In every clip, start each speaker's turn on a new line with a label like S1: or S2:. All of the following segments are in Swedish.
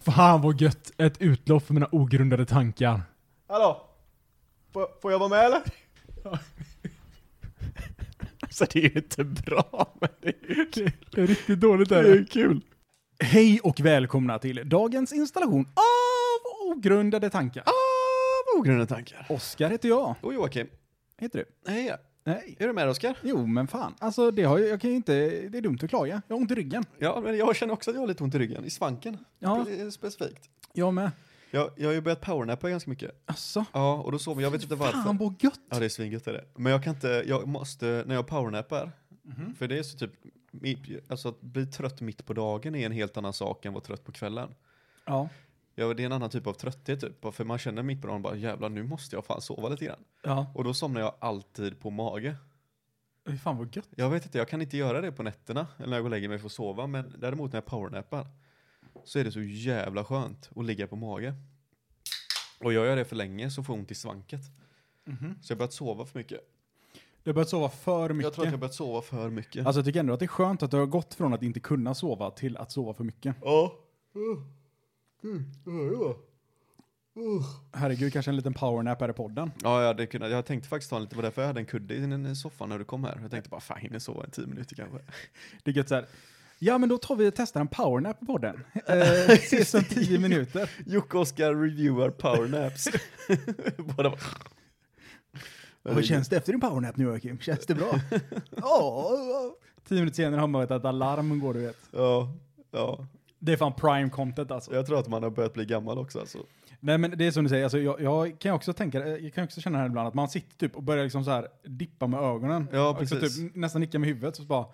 S1: Fan vad gött! Ett utlopp för mina ogrundade tankar.
S2: Hallå? Får, får jag vara med eller?
S3: Alltså det är ju inte bra, men det är ju kul.
S1: Det är riktigt dåligt
S3: Det är ju kul.
S1: Hej och välkomna till dagens installation av ogrundade tankar.
S3: Ah, vad ogrundade tankar.
S1: Oskar heter jag.
S3: Och Joakim,
S1: Heter du?
S3: hej.
S1: Nej.
S3: Är du med Oskar?
S1: Jo, men fan. Alltså, det har jag, jag kan ju inte... Det är dumt att klaga. Jag har ont i ryggen.
S3: Ja, men jag känner också att jag har lite ont i ryggen, i svanken.
S1: Ja.
S3: Spe- Specifikt.
S1: Jag med.
S3: Jag, jag har ju börjat powernappa ganska mycket.
S1: Alltså.
S3: Ja, och då sover jag, jag vet inte varför.
S1: Fan vad gött!
S3: Ja, det är svingött är det. Men jag kan inte, jag måste, när jag powernappar, för det är så typ, i- alltså att bli trött mitt på dagen är en helt annan sak än att vara trött på kvällen.
S1: Ja.
S3: Ja, det är en annan typ av trötthet typ, för man känner mitt på dagen bara jävlar nu måste jag fan sova lite grann.
S1: Ja.
S3: Och då somnar jag alltid på mage.
S1: Fy Fan vad gött.
S3: Jag vet inte, jag kan inte göra det på nätterna eller när jag går och lägger mig för att sova, men däremot när jag powernappar så är det så jävla skönt att ligga på mage. Och jag gör jag det för länge så får jag ont i svanket. Så jag har börjat sova för mycket.
S1: Du har börjat sova för mycket.
S3: Jag tror att jag har börjat sova för mycket.
S1: Alltså jag tycker ändå att det är skönt att du har gått från att inte kunna sova till att sova för mycket.
S3: Ja.
S1: Herregud, kanske en liten powernap här i podden.
S3: Ja, jag, hade kunnat, jag tänkte faktiskt ta en lite, det var därför jag hade en kudde i den- i soffan när du kom här. Jag tänkte bara, fan jag hinner sova i tio minuter kanske.
S1: Det är gött så här. Ja, men då tar vi och testar en powernap på podden. Eh, ses om tio minuter.
S3: Jocke och Oskar reviewar powernaps. Båda bara...
S1: Vad känns det efter din powernap nu, Joakim? Känns det bra? Ja. Tio minuter senare har man vet att alarm går, du vet.
S3: Ja, ja.
S1: Det är fan prime content alltså.
S3: Jag tror att man har börjat bli gammal också alltså.
S1: Nej men det är som du säger, alltså, jag, jag kan också tänka, eh, jag kan också känna det här ibland att man sitter typ och börjar liksom så här dippa med ögonen.
S3: Ja,
S1: Och så
S3: precis.
S1: typ, nästan nicka med huvudet så bara,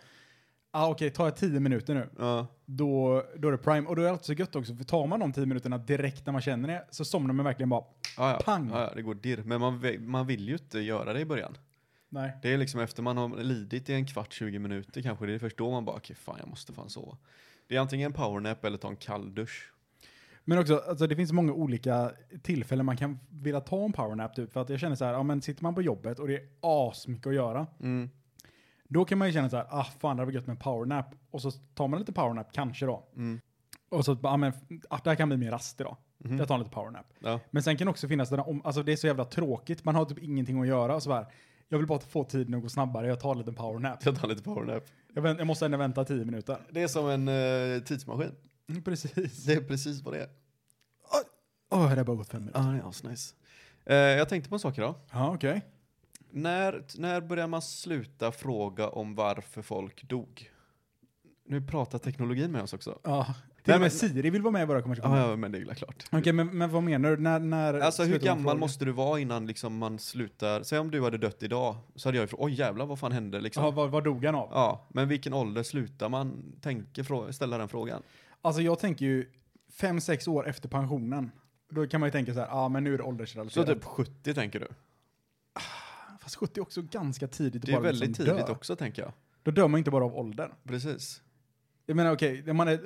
S1: ah, okej tar jag tio minuter nu,
S3: Ja,
S1: då, då är det prime. Och då är det alltid så gött också, för tar man de tio minuterna direkt när man känner det så somnar man verkligen bara,
S3: ja, ja.
S1: Pang.
S3: ja, ja det går dirr. Men man, vä- man vill ju inte göra det i början.
S1: nej.
S3: Det är liksom efter man har lidit i en kvart, 20 minuter kanske, det är först då man bara, okej fan jag måste fan sova. Det är antingen en powernap eller ta en kall dusch.
S1: Men också, alltså, det finns så många olika tillfällen man kan vilja ta en powernap typ. För att jag känner så här, ja men sitter man på jobbet och det är asmycket att göra,
S3: Mm.
S1: då kan man ju känna så här, ah fan det hade varit gött med en powernap. Och så tar man lite powernap kanske då.
S3: Mm.
S1: Och så bara, ah, men ah, det här kan bli min rast idag.
S3: Mhm.
S1: Jag tar en lite powernap.
S3: Ja.
S1: Men sen kan också finnas den här om, alltså det är så jävla tråkigt, man har typ ingenting att göra och så här. Jag vill bara få tiden att gå snabbare, jag tar en liten powernap.
S3: Jag tar lite powernap.
S1: Jag, vänt, jag måste ändå vänta tio minuter.
S3: Det är som en eh, tidsmaskin.
S1: Precis.
S3: Det är precis vad det är.
S1: Åh, det har bara gått fem minuter.
S3: Ja, det är asnice. Eh, jag tänkte på en sak idag.
S1: Ja, okej.
S3: När, när börjar man sluta fråga om varför folk dog? Nu pratar teknologin med oss också.
S1: Ja. Till
S3: Nej,
S1: och
S3: men- Ah,
S1: med Siri vill vara med i våra konversationer.
S3: Ja, ja, men det är väl klart.
S1: Okej, men, men vad menar du? När, när
S3: Alltså hur
S1: slutar man
S3: gammal
S1: fråga?
S3: måste du vara innan liksom man slutar? Säg om du hade dött idag, så hade jag ju frågat oj jävlar vad fan hände liksom.
S1: Ja,
S3: Ja,
S1: vad, vad dog han av?
S3: men vilken ålder slutar man tänker frå- ställa den frågan?
S1: Alltså jag tänker ju fem sex år efter pensionen. Då kan man ju tänka så här, ja ah, men nu är det
S3: Så
S1: åldersrelaterat. Ah,
S3: typ 70 tänker du?
S1: Fast 70 är också ganska tidigt att
S3: Det är
S1: bara
S3: väldigt
S1: liksom
S3: tidigt
S1: dö.
S3: också tänker jag.
S1: Då dör man ju inte bara av ålder.
S3: Precis.
S1: Jag menar okej, när man är ö,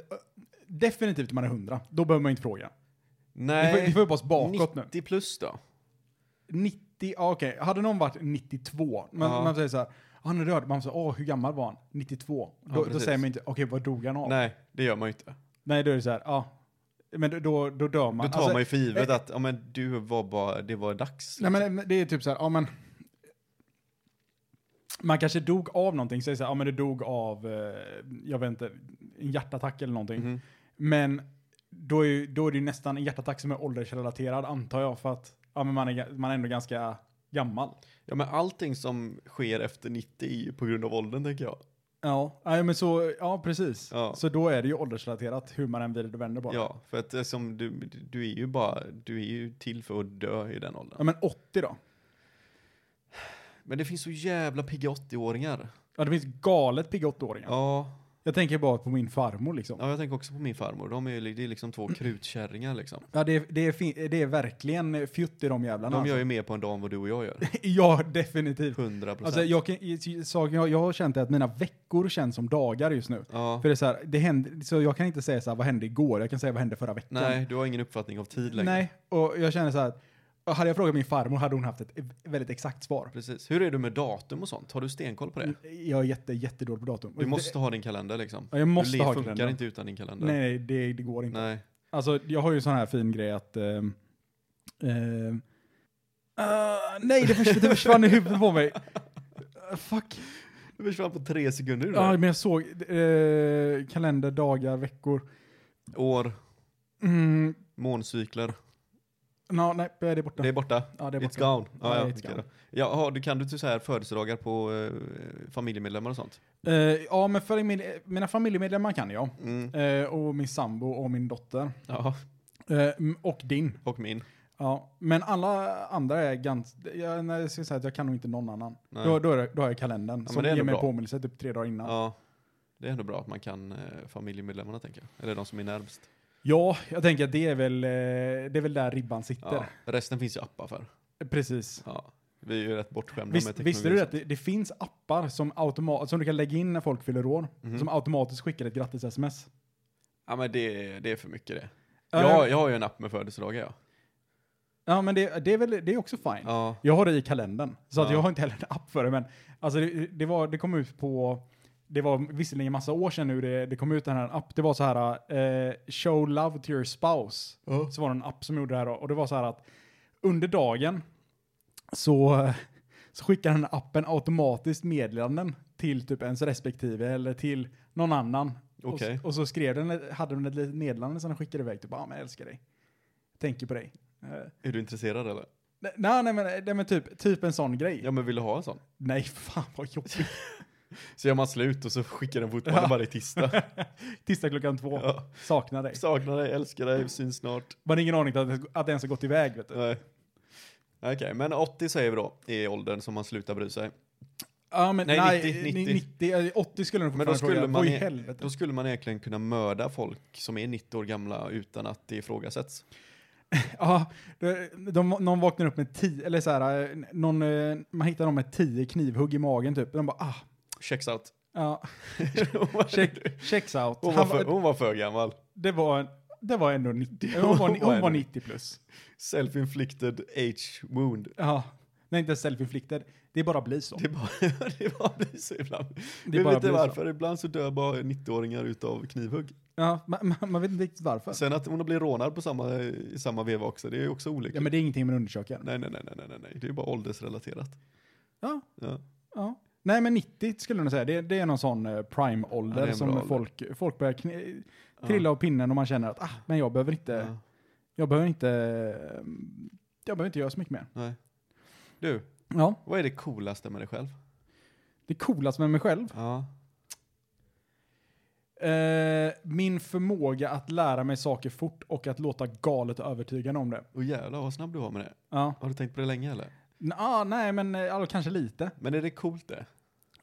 S1: definitivt när man är 100, då behöver man inte fråga. Vi får, vi
S3: Nej,
S1: får jobba oss bakåt nu.
S3: 90 plus då?
S1: 90, ja okej, hade någon varit 92, man,
S3: Ja.
S1: man säger så här, "Ah, han är död, man säger åh hur gammal var han? 92. Då, då
S3: precis.
S1: säger man inte, okej vad dog han av? Nej.
S3: Nej, det gör man ju inte.
S1: då är det så här, ja. Men då- då, då dör man.
S3: Då tar
S1: Alltså,
S3: man ju för givet
S1: eh,
S3: att ja, men du var bara, det var dags. liksom.
S1: Nej men det är typ så här, ja men. Man kanske dog av någonting, säg så här, ja men du dog av, eh, jag vet inte, en hjärtattack eller någonting.
S3: Mhm.
S1: Men då är, ju, då är det ju nästan en hjärtattack som är åldersrelaterad antar jag för att ja, men man, är, ga- man är ändå ganska gammal.
S3: Ja men allting som sker efter 90 är ju på grund av åldern tänker jag.
S1: Ja, nej, men så, ja precis.
S3: Ja.
S1: Så då är det ju åldersrelaterat hur man än vrider och vänder på det.
S3: Ja, för att eh, som du, du är ju bara, du är ju till för att dö i den åldern.
S1: ja men 80 då?
S3: Men det finns så jävla pigga 80-åringar.
S1: Ja det finns galet pigga 80-åringar.
S3: Ja.
S1: Jag tänker bara på min farmor liksom.
S3: ja, jag tänker också på min farmor. De är ju, li- det är liksom två krutkärringar liksom.
S1: Ja det, är- det, är, fin- det är verkligen fjutt i de jävlarna.
S3: De
S1: alltså.
S3: gör ju mer på en dag än vad du och jag gör.
S1: Ja, definitivt.
S3: 100 procent.
S1: Alltså, jag, kan, saken jag, jag har känt är att mina veckor känns som dagar just nu.
S3: ja.
S1: För det är så här, det händer, så jag kan inte säga så här, vad hände igår? Jag kan säga vad hände förra veckan.
S3: Nej, du har ingen uppfattning av tid längre.
S1: Nej, och jag känner så här, att hade jag frågat min farmor hade hon haft ett väldigt exakt svar.
S3: Precis. Hur är du med datum och sånt? Har du stenkoll på det?
S1: Jag är jätte, jättedålig på datum. Och
S3: Du måste ha din kalender liksom.
S1: Ja, Mm. jag måste
S3: du le-
S1: ha
S3: funkar
S1: kalendern.
S3: inte utan din kalender.
S1: Det, nej, nej, det, det går inte.
S3: Nej.
S1: Alltså, jag har ju sån här fin grej att... ehm, ehm, ah, nej, det, förs- det försvann i huvudet på mig. Ah, fuck.
S3: Det försvann på tre sekunder.
S1: Ja,
S3: Ja.
S1: men jag såg eh, kalender, dagar, veckor.
S3: År,
S1: Mm,
S3: måncykler.
S1: no, nej, det är borta.
S3: Det är borta.
S1: ja, det är
S3: It's
S1: borta.
S3: gone. Ja,
S1: Ja,
S3: ja,
S1: it's
S3: okej
S1: gone.
S3: då. ja, har du, kan du till så här födelsedagar på eh, familjemedlemmar och sånt?
S1: Eh, ja, men för min, mina familjemedlemmar kan jag.
S3: Mm.
S1: Eh, och min sambo och min dotter.
S3: Ja,
S1: Eh, mm, och din.
S3: och min.
S1: Ja, men alla andra är ganska... Jag, nej, jag ska säga att jag kan nog inte någon annan.
S3: Nej.
S1: Då, då, är det, då har jag kalendern
S3: men
S1: som
S3: det är
S1: ger
S3: ändå
S1: mig
S3: bra.
S1: påminnelse typ tre dagar innan. Ja.
S3: Ja. Det är ändå bra att man kan eh, familjemedlemmarna tänker jag. Eller de som är närmst.
S1: jag tänker att det är väl, eh, det är väl där ribban sitter.
S3: Ja. Resten finns ju appar för.
S1: Precis.
S3: Ja. Vi är ju rätt bortskämda med
S1: Visst,
S3: teknologi.
S1: visste du att det, det finns appar som, automa- som du kan lägga in när folk fyller år,
S3: Mhm.
S1: som automatiskt skickar ett grattis-sms?
S3: Ja men det, det är för mycket det.
S1: Eh,
S3: Jag, jag har ju en app med födelsedagar ja.
S1: ja, men det, det, är väl, det är också fine.
S3: Ja.
S1: Jag har det i kalendern, så att
S3: Ja.
S1: jag har inte heller en app för det. Men alltså det, det, var, det kom ut på, det var visserligen massa år sedan nu det, det kom ut den här app. Det var så här, eh, show love to your spouse. Så var det en app som gjorde det här och det var så här att under dagen så, så skickar den här appen automatiskt meddelanden till typ ens respektive eller till någon annan. Och,
S3: Okej.
S1: s- och så skrev den, hade den ett litet meddelande som den skickade iväg. Typ, ah, men jag älskar dig. Tänker på dig. Eh,
S3: Är du intresserad eller?
S1: Nej, nej, nej, men, nej men typ, typ en sån grej.
S3: Ja men vill du ha en sån?
S1: Nej, fan vad jobbigt.
S3: Så gör man slut och så skickar den fortfarande
S1: Ja.
S3: varje tisdag.
S1: Tisdag klockan två.
S3: Ja.
S1: Saknar dig.
S3: Saknar dig, älskar dig, syns snart.
S1: Man har ingen aning om att, att det ens har gått iväg, vet du.
S3: Nej. Okej, men 80 säger vi då, är åldern som man slutar bry sig.
S1: Ja, men
S3: Nej,
S1: nej,
S3: 90,
S1: 90, 90. eh, 80 skulle den
S3: Men då
S1: fortfarande
S3: skulle,
S1: fråga.
S3: man
S1: Vad i
S3: e-
S1: helvete?
S3: då skulle man egentligen kunna mörda folk som är 90 år gamla utan att det ifrågasätts.
S1: Ja, de, de, någon vaknar upp med tio, eller så här, eh, någon, eh, man hittar någon med tio knivhugg i magen typ. De bara, ah,
S3: Checks out.
S1: ja, check, checks out.
S3: hon, var
S1: Han
S3: för,
S1: var,
S3: hon var för gammal.
S1: det, var en, det var ändå 90, hon var, hon var 90 plus.
S3: Self-inflicted age wound.
S1: Ja, nej inte self-inflicted, det bara blir så.
S3: Det bara, det bara blir så ibland.
S1: Det
S3: Det vet
S1: bara
S3: inte
S1: blir så.
S3: varför. Ibland så dör bara 90-åringar utav knivhugg.
S1: Ja, man, man, man vet inte riktigt varför.
S3: Sen att hon har blivit rånad på samma, i samma veva också, det är ju också
S1: Ja,
S3: olyckligt.
S1: men det är ingenting man undersöker.
S3: Nej, nej, nej, nej, nej, nej, nej, det är bara åldersrelaterat.
S1: Ja,
S3: Ja.
S1: ja. Nej, men 90 skulle jag nog säga. Det, det är någon sån eh,
S3: Ja, det är
S1: prime-ålder
S3: en bra
S1: som
S3: ålder.
S1: folk, folk börjar kn- trilla av pinnen och man känner att ah, men jag behöver inte,
S3: Ja.
S1: jag behöver inte, eh, jag behöver inte göra så mycket mer.
S3: Nej. Du,
S1: Ja,
S3: vad är det coolaste med dig själv?
S1: det coolaste med mig själv.
S3: Ja.
S1: Eh, min förmåga att lära mig saker fort och att låta galet övertygande om det.
S3: Och jävlar vad snabb du var med det.
S1: Ja,
S3: Har du tänkt på det länge eller?
S1: N- ah, nej men eh, ja, kanske lite.
S3: Men är det coolt det?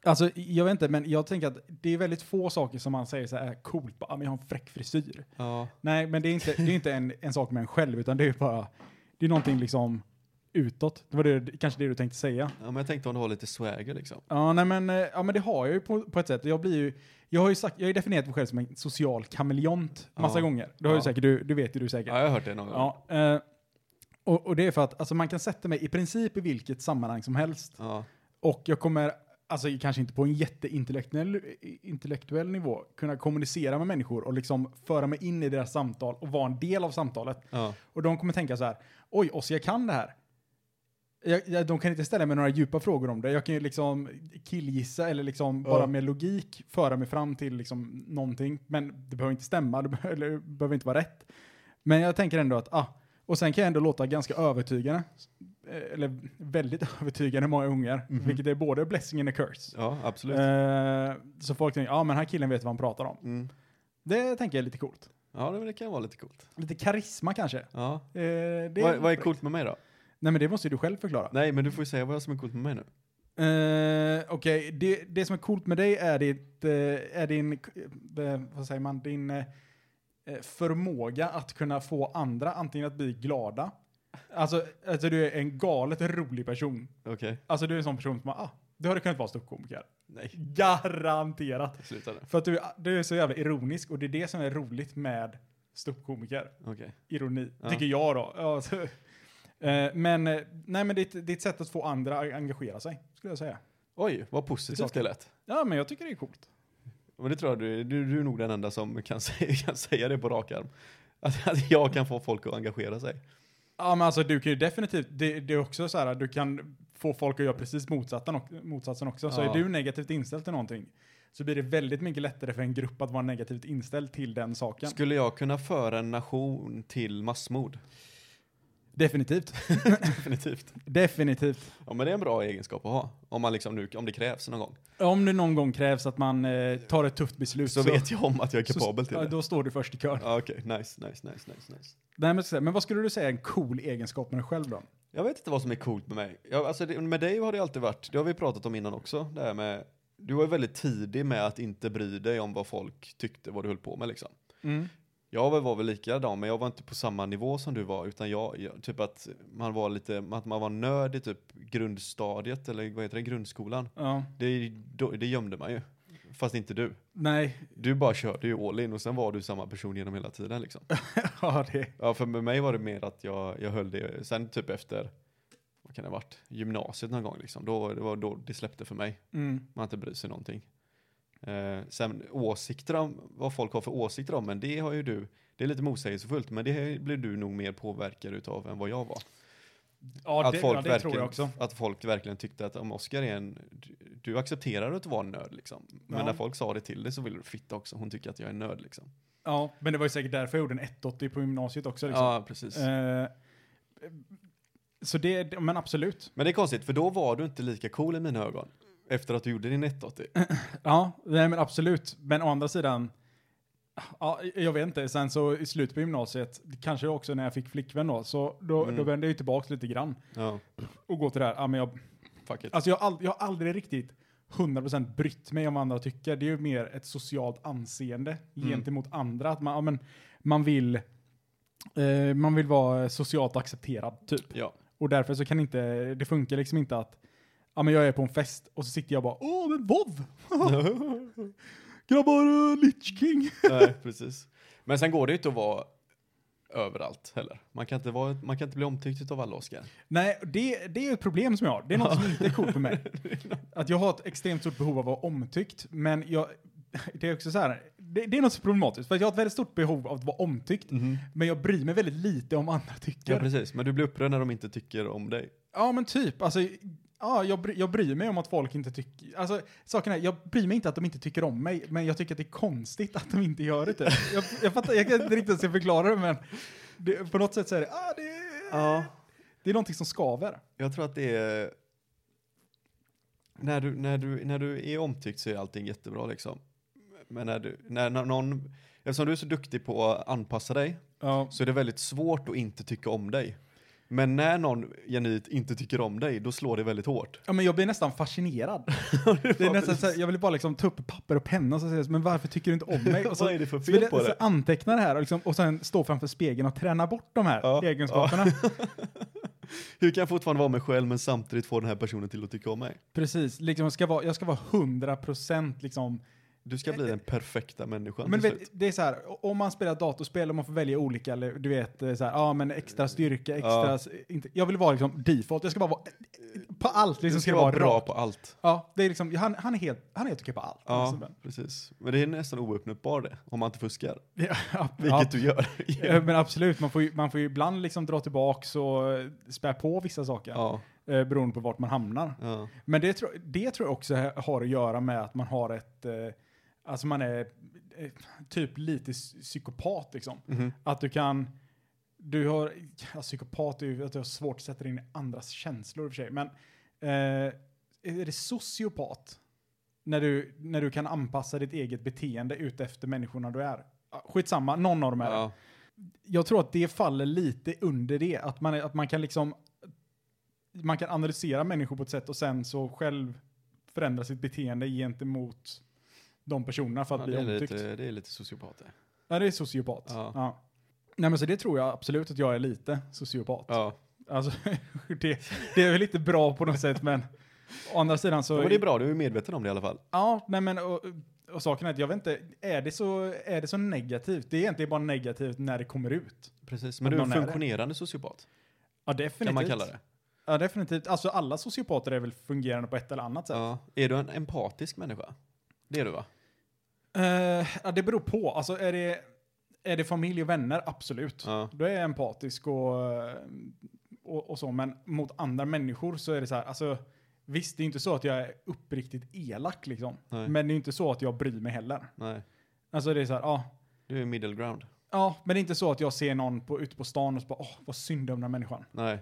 S1: Alltså jag vet inte, men jag tänker att det är väldigt få saker som man säger så här coolt, bara, ah, men jag har en fräck frisyr.
S3: Ja.
S1: Nej, men det är inte, det är inte en, en sak med en själv, utan det är bara, det är någonting liksom utåt. Det var det, kanske det du tänkte säga.
S3: ja men jag tänkte om du har lite swagger liksom.
S1: Ja, nej men, eh, ja, men det har jag ju på, på ett sätt. Jag blir ju, jag har ju sagt, jag har ju definierat mig själv som en social kameleont massa
S3: Ja.
S1: gånger. Det har ju
S3: Ja.
S1: säkert, du, du vet ju du säkert.
S3: Ja, jag har hört det någon gång.
S1: Ja, eh, och, och det är för att alltså, man kan sätta mig i princip i vilket sammanhang som helst.
S3: Ja.
S1: Och jag kommer, alltså kanske inte på en jätteintellektuell intellektuell nivå, kunna kommunicera med människor och liksom föra mig in i deras samtal och vara en del av samtalet.
S3: ja.
S1: Och de kommer tänka så här, oj, Ossi, jag kan det här. Jag, jag, de kan inte ställa mig några djupa frågor om det. Jag kan ju liksom killgissa eller liksom
S2: Ja.
S1: bara med logik föra mig fram till liksom någonting. Men det behöver inte stämma, det behöver, eller, det behöver inte vara rätt. Men jag tänker ändå att, ah, och sen kan jag ändå låta ganska övertygande. eh, Eller väldigt övertygande många gånger, vilket är både blessing and a curse.
S3: Mhm. Ja, absolut.
S1: Eh, så folk tänker, ja ah, men den här killen vet vad han pratar om.
S3: Mm.
S1: Det tänker jag är lite coolt.
S3: Ja, det, men det kan vara lite coolt.
S1: Lite karisma kanske. Eh,
S3: Ja.
S1: det
S3: Vad, vad är coolt med mig då?
S1: Nej men det måste ju du själv förklara.
S3: Nej, men du får ju säga vad som är coolt med mig nu.
S1: Eh, Okej, det, det som är coolt med dig är, ditt, eh, är din, eh, vad säger man, din eh, eh, förmåga att kunna få andra antingen att bli glada, alltså, alltså du är en galet rolig person.
S3: Okej.
S1: Alltså du är en sån person som, bara, ah, du hade kunnat vara ståuppkomiker.
S3: Nej,
S1: Garanterat.
S3: sluta nu.
S1: För att du, är- du är så jävla ironisk och det är det som är roligt med ståuppkomiker
S3: Okej.
S1: ironi,
S3: Ja.
S1: tycker jag då. Ja, så. Eh, men eh, nej, men det är ett- det är ett sätt att få andra att engagera sig, skulle jag säga.
S3: Oj, vad
S1: Det är
S3: positivt
S1: saker.
S3: det lät.
S1: Ja, men jag tycker det är coolt.
S3: Men det tror jag, du, du, du är nog den enda som kan säga, kan säga det på rak arm. Att, att jag kan få folk att engagera sig.
S1: Ja men alltså du kan ju definitivt, det, det är också så här, du kan få folk att göra precis motsatsen, och- motsatsen också. Så
S3: Ja.
S1: är du negativt inställd till någonting så blir det väldigt mycket lättare för en grupp att vara negativt inställd till den saken.
S3: Skulle jag kunna föra en nation till massmord?
S1: Definitivt.
S3: Definitivt.
S1: Definitivt.
S3: Ja men det är en bra egenskap att ha. Om, man liksom nu, om det krävs någon gång.
S1: Om det någon gång krävs att man eh, tar ett tufft beslut
S3: Så, vet jag om att jag är
S1: så-
S3: kapabel till
S1: ja,
S3: det.
S1: Då står du först i kön.
S3: Ja, Okej, nice, nice, nice, nice, nice.
S1: Nej, men, så- men vad skulle du säga är en cool egenskap med dig själv då?
S3: Jag vet inte vad som är coolt med mig. Jag, alltså det, med dig har det alltid varit, det har vi pratat om innan också, det här med, du var ju väldigt tidig med att inte bry dig om vad folk tyckte, vad du höll på med liksom. Jag var, var väl likadan, men jag var inte på samma nivå som du var, utan jag, jag typ att man var lite, att man var nörd i typ grundstadiet, eller vad heter det, grundskolan.
S1: Ja.
S3: Det, då- det gömde man ju. Fast inte du.
S1: Nej,
S3: Du bara körde ju all in och sen var du samma person genom hela tiden liksom.
S1: ja det.
S3: Ja, för med mig var det mer att jag, jag höll det, sen typ efter, vad kan det ha varit, gymnasiet någon gång liksom, då, det var då det släppte för mig.
S1: Mm.
S3: Man inte bryr sig någonting. Eh, sen åsikter om, vad folk har för åsikter om men det har ju du, det är lite motsägelsefullt, men det blir du nog mer påverkad utav än vad jag var.
S1: Ja, det, ja, det tror
S3: verkligen,
S1: jag också.
S3: att folk verkligen tyckte att om Oscar är en, du, du accepterar att vara en nörd liksom. Men
S1: Ja.
S3: när folk sa det till dig så ville du fitta också, hon tycker att jag är en nörd liksom.
S1: Ja, men det var ju säkert därför jag gjorde en 180 på gymnasiet också. Liksom.
S3: Ja, precis.
S1: Eh, så det, det- men absolut.
S3: Men det är konstigt, för då var du inte lika cool i mina ögon. Efter att du gjorde din 180.
S1: Ja, nej men absolut. Men å andra sidan, ja, jag vet inte. Sen så i slutet på gymnasiet, kanske också när jag fick flickvän då, så då,
S3: Mm.
S1: då vände jag ju tillbaka lite grann
S3: Ja,
S1: och går till det här, ja men jag,
S3: fuck it.
S1: alltså jag, har ald- jag har aldrig riktigt 100% brytt mig om vad andra tycker. Det är ju mer ett socialt anseende gentemot andra. Att man, ja, men, man vill, eh, man vill vara socialt accepterad typ.
S3: Ja.
S1: Och därför så kan inte, det funkar liksom inte att, ja men jag är på en fest och så sitter jag bara, åh men vov! Grabbar, uh, Lich King!
S3: Nej, precis. Men sen går det ju inte att vara överallt heller. Man kan inte, vara, man kan inte bli omtyckt av alla Oscar.
S1: Nej, det, det är ju ett problem som jag har. Det är något som inte är coolt för mig. Att jag har ett extremt stort behov av att vara omtyckt, men jag, det är också så här, det, det är något som är problematiskt. För att jag har ett väldigt stort behov av att vara omtyckt, men jag bryr mig väldigt lite om vad andra tycker.
S3: Ja,
S1: Mm-hmm. Ja,
S3: precis. Men du blir upprörd när de inte tycker om dig.
S1: men typ, alltså, ja, jag, bry, jag bryr mig om att folk inte tycker, alltså saken är, jag bryr mig inte att de inte tycker om mig, men jag tycker att det är konstigt att de inte gör det typ. jag, jag fattar, jag kan inte riktigt ens förklara det, men det, på något sätt så är det, ah, det,
S3: Ja.
S1: det är någonting som skaver.
S3: Jag tror att det är... När du, när, du, när du är omtyckt så är allting jättebra liksom. Men när, du, när, när någon... Eftersom du är så duktig på att anpassa dig
S1: Ja.
S3: så är det väldigt svårt att inte tycka om dig. Men när någon genuint inte tycker om dig, då slår det väldigt hårt.
S1: Ja, men jag blir nästan fascinerad. det är nästan så här, jag vill bara liksom ta upp papper och penna och så säga, men varför tycker du inte om mig? Och så,
S3: Vad är det för
S1: så
S3: fel
S1: vill jag-
S3: på
S1: Så
S3: det?
S1: anteckna det här och, liksom, och sen stå framför spegeln och träna bort de här
S3: Ja,
S1: egenskaperna.
S3: Hur kan jag fortfarande vara mig själv men samtidigt få den här personen till att tycka om mig?
S1: Precis, liksom, jag, ska vara, jag ska vara 100% liksom.
S3: Du ska bli den perfekta människan
S1: Men
S3: till
S1: vet,
S3: slut.
S1: det är så här, o- om man spelar datorspel och man får välja olika, eller du vet, eh, så här, ja men extra styrka, extra...
S3: Ja.
S1: s- Inte, jag vill vara liksom default, jag ska bara vara... På allt liksom
S3: Du
S1: ska
S3: ska
S1: jag
S3: vara
S1: vara
S3: bra
S1: rakt.
S3: på allt.
S1: Ja, det är liksom, han, han är helt, han är helt okej på allt. den här
S3: Ja,
S1: snubben.
S3: precis. Men det är nästan ouppnåbart det, om man inte fuskar.
S1: Ja, ja,
S3: Vilket du gör.
S1: Eh, Men absolut, man får ju, man får ju ibland liksom dra tillbaks och eh, spä på vissa saker.
S3: ja,
S1: Eh, beroende på vart man hamnar.
S3: ja.
S1: Men det, tror- det tror jag också ha- har att göra med att man har ett... Eh, alltså man är eh, typ lite s- psykopat liksom.
S3: Mhm.
S1: Att du kan... Du har... Ja, psykopat är ju att du har svårt att sätta dig in i andras känslor i och för sig. Men eh, är det sociopat? När du, när du kan anpassa ditt eget beteende ut efter människorna du är. Ah, Skitsamma, någon av dem är det
S3: ja.
S1: jag tror att det faller lite under det. Att man, att man kan liksom man kan analysera människor på ett sätt och sen så själv förändra sitt beteende gentemot de personerna för att
S3: Ja,
S1: bli
S3: det, är
S1: omtyckt.
S3: lite, det är lite sociopat det.
S1: Ja, det är sociopat.
S3: Ja.
S1: Nej, men så det tror jag absolut att jag är lite sociopat.
S3: Ja.
S1: Alltså, det, det är väl lite bra på något sätt, men å andra sidan så...
S3: ja, men det är bra, du är medveten om det i alla fall.
S1: Ja, nej men och, och saken är att jag vet inte, är det, så, är det så negativt? Det är egentligen bara negativt när det kommer ut.
S3: Precis, men
S1: Att
S3: du är en
S1: någon är det.
S3: funktionerande sociopat,
S1: Ja, definitivt.
S3: kan man kalla det.
S1: Ja, definitivt. Alltså alla sociopater är väl fungerande på ett eller annat sätt.
S3: Ja. Är du en empatisk människa? Det är du va?
S1: Eh, ja, det beror på. Alltså är det... Är det familj och vänner? Absolut.
S3: Ja.
S1: Då är jag empatisk och, eh, och, och så. Men mot andra människor så är det så här, alltså visst det är inte så att jag är uppriktigt elak liksom.
S3: Nej.
S1: Men det är inte så att jag bryr mig heller.
S3: Nej.
S1: Alltså det är så här, ja.
S3: Du är middle ground.
S1: Ja, men det är inte så att jag ser någon på, ute på stan och så bara, åh, vad synd om den här människan.
S3: Nej.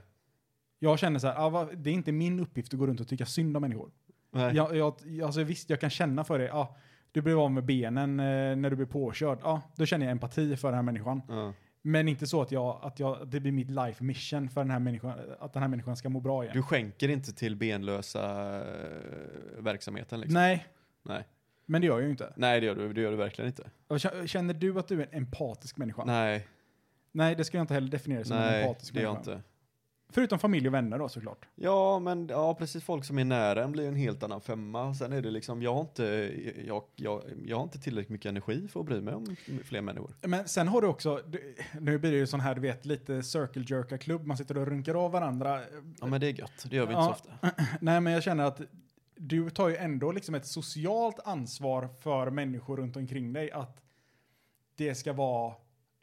S1: Jag känner så här, ah, vad, det är inte min uppgift att gå runt och tycka synd om människor.
S3: Nej.
S1: Jag, jag, alltså visst, jag kan känna för det. Ah, du blev av med benen eh, när du blev påkörd. Ja, då känner jag empati för den här människan.
S3: Ja.
S1: Men inte så att, jag, att jag, det blir mitt life mission för den här människan, att den här människan ska må bra igen.
S3: Du skänker inte till benlösa eh, verksamheten liksom?
S1: Nej,
S3: Nej.
S1: men det gör jag ju inte.
S3: Nej, det gör du, det gör du verkligen inte.
S1: Och kä- Känner du att du är en empatisk människa?
S3: Nej,
S1: Nej, det ska jag inte heller definiera som en
S3: nej,
S1: empatisk
S3: det gör jag
S1: människa.
S3: inte.
S1: Förutom familj och vänner då såklart.
S3: Ja, men ja, precis. Folk som är nära en blir en helt annan femma. Sen är det liksom, jag har inte, jag, jag, jag har inte tillräckligt mycket energi för att bry mig om fler människor.
S1: Men sen har du också, du- nu blir det ju sån här, du vet, lite circle jerka-klubb. Man sitter och runkar av varandra.
S3: Ja, men det är gött. Det gör vi
S1: Ja.
S3: inte så ofta.
S1: Nej, men jag känner att du tar ju ändå liksom ett socialt ansvar för människor runt omkring dig. Att det ska vara,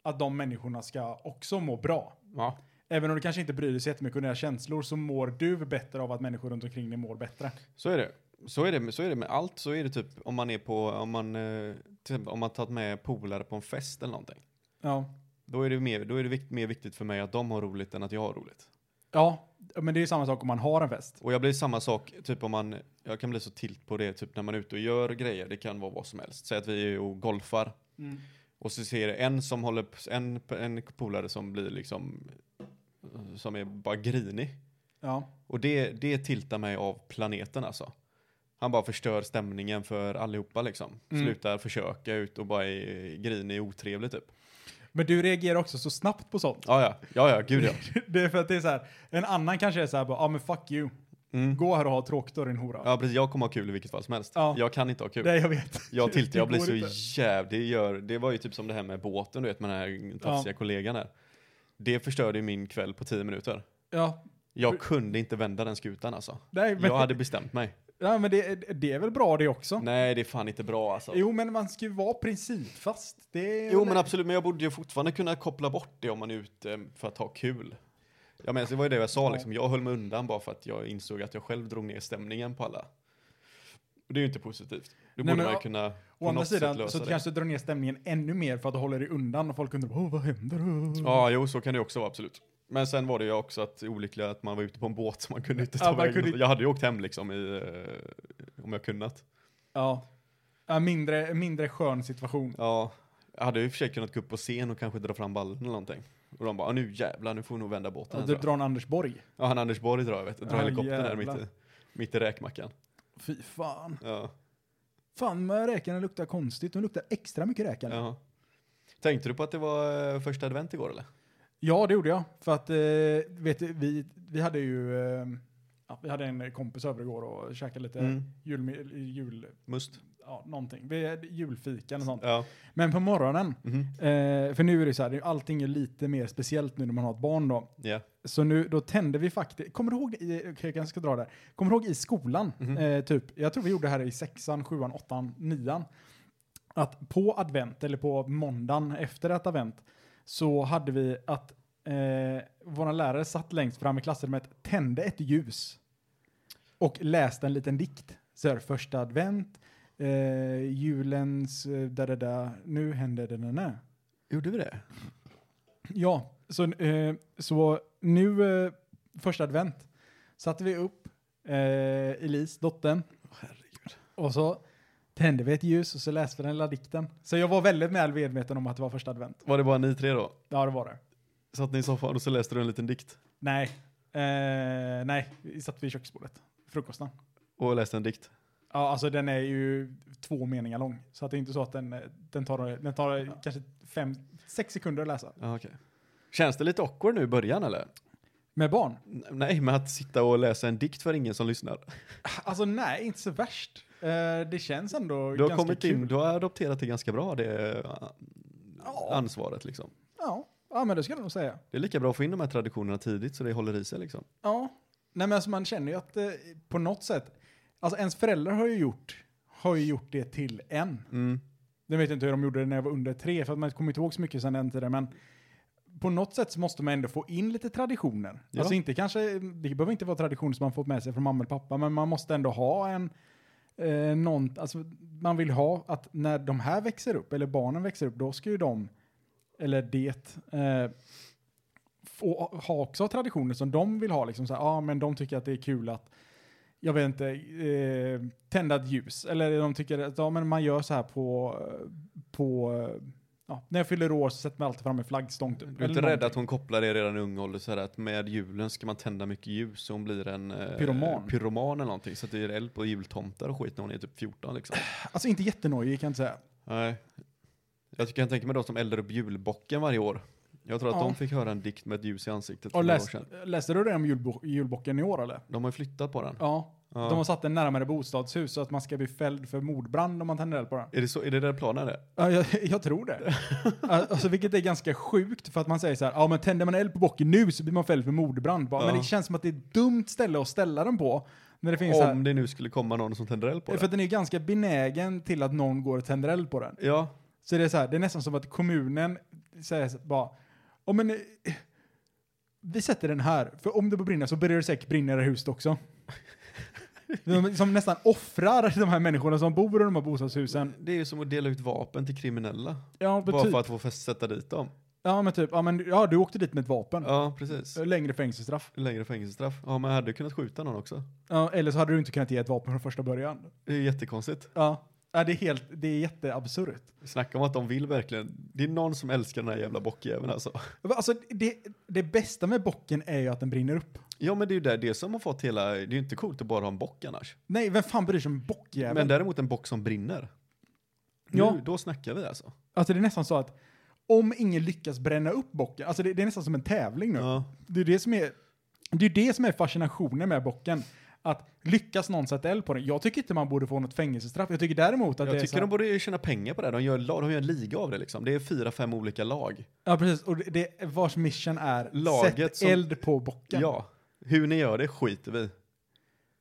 S1: att de människorna ska också må bra.
S3: Ja.
S1: Även om du kanske inte bryr dig så jättemycket om dina känslor så mår du bättre av att människor runt omkring dig mår bättre.
S3: Så är det. Så är det, med- så är det med allt. Så är det typ om man är på, om man, eh, till exempel, om man tagit med polare på en fest eller någonting.
S1: Ja.
S3: Då är det, mer, då är det vikt, mer viktigt för mig att de har roligt än att jag har roligt.
S1: Ja, men det är ju samma sak om man har en fest.
S3: Och jag blir samma sak, typ om man, jag kan bli så tilt på det, typ när man är ute och gör grejer, det kan vara vad som helst. Säg att vi är och golfar och så ser jag en som håller, p- en, en polare som blir liksom, eh, som är bara grinig.
S1: Ja.
S3: Och det, det tiltar mig av planeten alltså. Han bara förstör stämningen för allihopa liksom.
S1: Mm.
S3: Slutar försöka ut och bara är grinig och otrevlig typ.
S1: Men du reagerar också så snabbt på sånt.
S3: Ja, ja, ja, ja, gud ja.
S1: det är för att det är så här, en annan kanske är så här, bara, ja ah, men fuck you.
S3: Mm.
S1: Gå här och ha tråkigt då din hora.
S3: Ja, precis. Jag kommer ha kul i vilket fall som helst.
S1: Ja.
S3: Jag kan inte ha kul.
S1: Nej, jag vet.
S3: Jag tiltar, jag
S1: Det
S3: blir
S1: går
S3: så
S1: inte.
S3: jävla... Det, gör, det var ju typ som det här med båten, du vet med den här tafsiga kollegan här. Det förstörde ju min kväll på tio minuter.
S1: Ja,
S3: Jag kunde inte vända den skutan alltså.
S1: nej, men,
S3: Jag hade bestämt mig.
S1: ja, men det, det är väl bra det också.
S3: Nej, det är fan inte bra alltså.
S1: Jo, men man ska ju vara principfast. Det är
S3: Jo men absolut, men jag borde ju fortfarande kunna koppla bort det om man är ute för att ha kul. Jag menar, det var ju det jag sa liksom. Jag höll mig undan bara för att jag insåg att jag själv drog ner stämningen på alla. Och det är ju inte positivt. Då
S1: Nej,
S3: borde
S1: men
S3: man ju
S1: å-
S3: kunna på
S1: Å andra
S3: något sätt
S1: sidan
S3: lösa
S1: så
S3: det.
S1: kanske du drar ner stämningen ännu mer för att du håller dig undan och folk undrar Åh, vad händer? Åh."
S3: Ja, jo, så kan det också vara, absolut. Men sen var det ju också att olyckliga att man var ute på en båt så man kunde inte ta
S1: Ja, man
S3: vägen.
S1: kunde inte-
S3: Jag hade ju åkt hem liksom i, eh, om jag kunnat.
S1: ja. ja mindre, mindre skön situation.
S3: Ja, jag hade ju i och för sig kunnat gå upp på scen och kanske dra fram ballen eller någonting. Och de bara, "Ah, nu jävlar, nu får vi nog vända båten.
S1: Att du
S3: här, tror jag."
S1: drar en Anders Borg.
S3: Ja, han Anders Borg drar, jag vet. Drar
S1: Ja,
S3: helikoptern där
S1: jävlar.
S3: mitt i, mitt i räkmackan.
S1: Fy fan.
S3: Ja,
S1: Fan, de här räkorna luktar konstigt. De luktar extra mycket räka nu.
S3: ja. Tänkte du på att det var eh, första advent igår eller?
S1: Ja, det gjorde jag. För att, eh, vet du, vi, vi hade ju, eh, ja, vi hade en kompis över igår och käkade lite
S3: Mm.
S1: jul, jul,
S3: Must.
S1: ja, någonting. Vi hade julfika eller sånt.
S3: Ja.
S1: Men på morgonen,
S3: Mhm.
S1: eh, för nu är det så här, det är- allting är lite mer speciellt nu när man har ett barn då.
S3: Ja.
S1: Så nu, då tände vi faktiskt, kommer du ihåg, det i, okej, jag kanske ska dra det. här. Kommer du ihåg i skolan,
S3: Mhm.
S1: eh, typ, jag tror vi gjorde det här i sexan, sjuan, åttan, nian. Att på advent, eller på måndagen efter ett advent, så hade vi att eh, våra lärare satt längst fram i klassrummet, tände ett ljus och läste en liten dikt. Så här, första advent, eh, julens, eh, da da da, nu händer det, da, da.
S3: Gjorde vi det?
S1: Ja, så, eh, så nu eh, första advent satte vi upp eh, Elise, dottern,
S3: Herregud.
S1: och så tände vi ett ljus och så läste vi den lilla dikten. Så jag var väldigt väl medveten om att det var första advent.
S3: Var det bara ni tre då?
S1: Ja, det var det.
S3: Satt ni i soffan och så läste du en liten dikt?
S1: Nej, eh, nej, vi satt vid köksbordet, frukosten.
S3: Och läste en dikt?
S1: Ja, alltså den är ju två meningar lång, så att det är inte så att den, eh, den tar, den tar eh, kanske fem, sex sekunder att läsa.
S3: Ja, okej. Känns det lite awkward nu i början eller?
S1: Med barn?
S3: N- Nej, men att sitta och läsa en dikt för ingen som lyssnar.
S1: Alltså nej, inte så värst. Eh, det känns ändå
S3: Du har,
S1: ganska
S3: kommit
S1: kul.
S3: in, du har adopterat det ganska bra, det eh,
S1: Ja.
S3: ansvaret liksom.
S1: Ja, ja men det ska jag nog säga.
S3: Det är lika bra att få in de här traditionerna tidigt så det håller i sig liksom.
S1: Ja. Nej men alltså man känner ju att eh, på
S3: Mm.
S1: något sätt, alltså ens föräldrar har ju gjort, har ju gjort det till en. Jag vet inte hur de gjorde det när jag var under tre, för att man kommer inte ihåg så mycket sedan den tiden, men på något sätt så måste man ändå få in lite traditioner.
S3: Ja.
S1: Alltså inte kanske, det behöver inte vara traditioner som man fått med sig från mamma eller pappa, men man måste ändå ha en, eh, någon, alltså man vill ha att när de här växer upp, eller barnen växer upp, då ska ju de, eller det, eh, få, ha också traditioner som de vill ha. Liksom så här, ah, men de tycker att det är kul att, jag vet inte, eh, tända ett ljus. Eller de tycker att ja, men man gör så här på, på eh, ja, när jag fyller år så sätter man alltid fram en flaggstång. Typ,
S3: Du är inte rädd att hon kopplar det redan i ung ålder så här att med julen ska man tända mycket ljus så hon blir en eh,
S1: Pyroman.
S3: pyroman eller någonting så att det är eld på jultomtar och skit när hon är typ 14 liksom.
S1: Alltså inte jättenojig kan jag inte säga.
S3: Nej. Jag tycker jag tänker mig de som eldar upp julbocken varje år. Jag tror att
S1: Ja.
S3: de fick höra en dikt med ett ljus i ansiktet
S1: Och
S3: för några år
S1: läs,
S3: sedan.
S1: läste du det om julbo, julbocken i år eller?
S3: De har ju flyttat på den.
S1: Ja.
S3: Ja.
S1: De har satt den närmare bostadshus så att man ska bli fälld för mordbrand om man tänder eld på den.
S3: Är det, så, är det där planen är?
S1: Ja, jag, jag tror det. alltså, vilket är ganska sjukt för att man säger så här, ja men tänder man eld på bocken nu så blir man fälld för mordbrand. Bara,
S3: Ja.
S1: Men det känns som att det är ett dumt ställe att ställa den på. När det finns så
S3: Om
S1: här,
S3: det nu skulle komma någon som tänder eld på
S1: för
S3: den.
S1: att den är ganska benägen till att någon går och tänder eld på den.
S3: Ja,
S1: Så det är så här, det är nästan som att kommunen säger så- bara, ja men eh, vi sätter den här, för om det börjar brinna så börjar det säkert brinna i det här huset också. De, som nästan offrar de här människorna som bor i de här bostadshusen.
S3: det är ju som att dela ut vapen till kriminella.
S1: Ja, men
S3: Bara
S1: typ,
S3: för att få fest- sätta dit dem.
S1: ja, men typ, ja, men, ja du åkte dit med ett vapen.
S3: Ja, precis.
S1: Längre fängelsestraff.
S3: Längre fängelsestraff. Ja, men jag hade kunnat skjuta någon också.
S1: Ja, eller så hade du inte kunnat ge ett vapen från första början.
S3: Det är jättekonstigt.
S1: Ja, ja det är helt, det är jätteabsurt.
S3: Snacka om att de vill verkligen. Det är någon som älskar den här jävla bockjäveln alltså.
S1: Alltså det, det bästa med bocken är ju att den brinner upp.
S3: Ja, men det är ju där det som har fått hela, det är ju inte coolt att bara ha en bock annars.
S1: Nej, vem fan bryr sig om bockjäveln?
S3: Men däremot en bock som brinner. Nu,
S1: Ja.
S3: Då snackar vi alltså.
S1: Alltså det är nästan så att om ingen lyckas bränna upp bocken, alltså det, det är nästan som en tävling nu.
S3: Ja.
S1: Det är det som är, det är det som är fascinationen med bocken. Att lyckas någon sätta eld på den. Jag tycker inte man borde få något fängelsestraff. Jag tycker däremot att det
S3: Jag
S1: är så
S3: tycker
S1: här,
S3: de borde tjäna pengar på det här. De gör, la- de gör en liga av det liksom. Det är fyra, fem olika lag.
S1: Ja precis, och det- det, vars mission är
S3: Laget
S1: sätt
S3: som-
S1: eld på bocken.
S3: Ja. Hur ni gör det skiter vi i.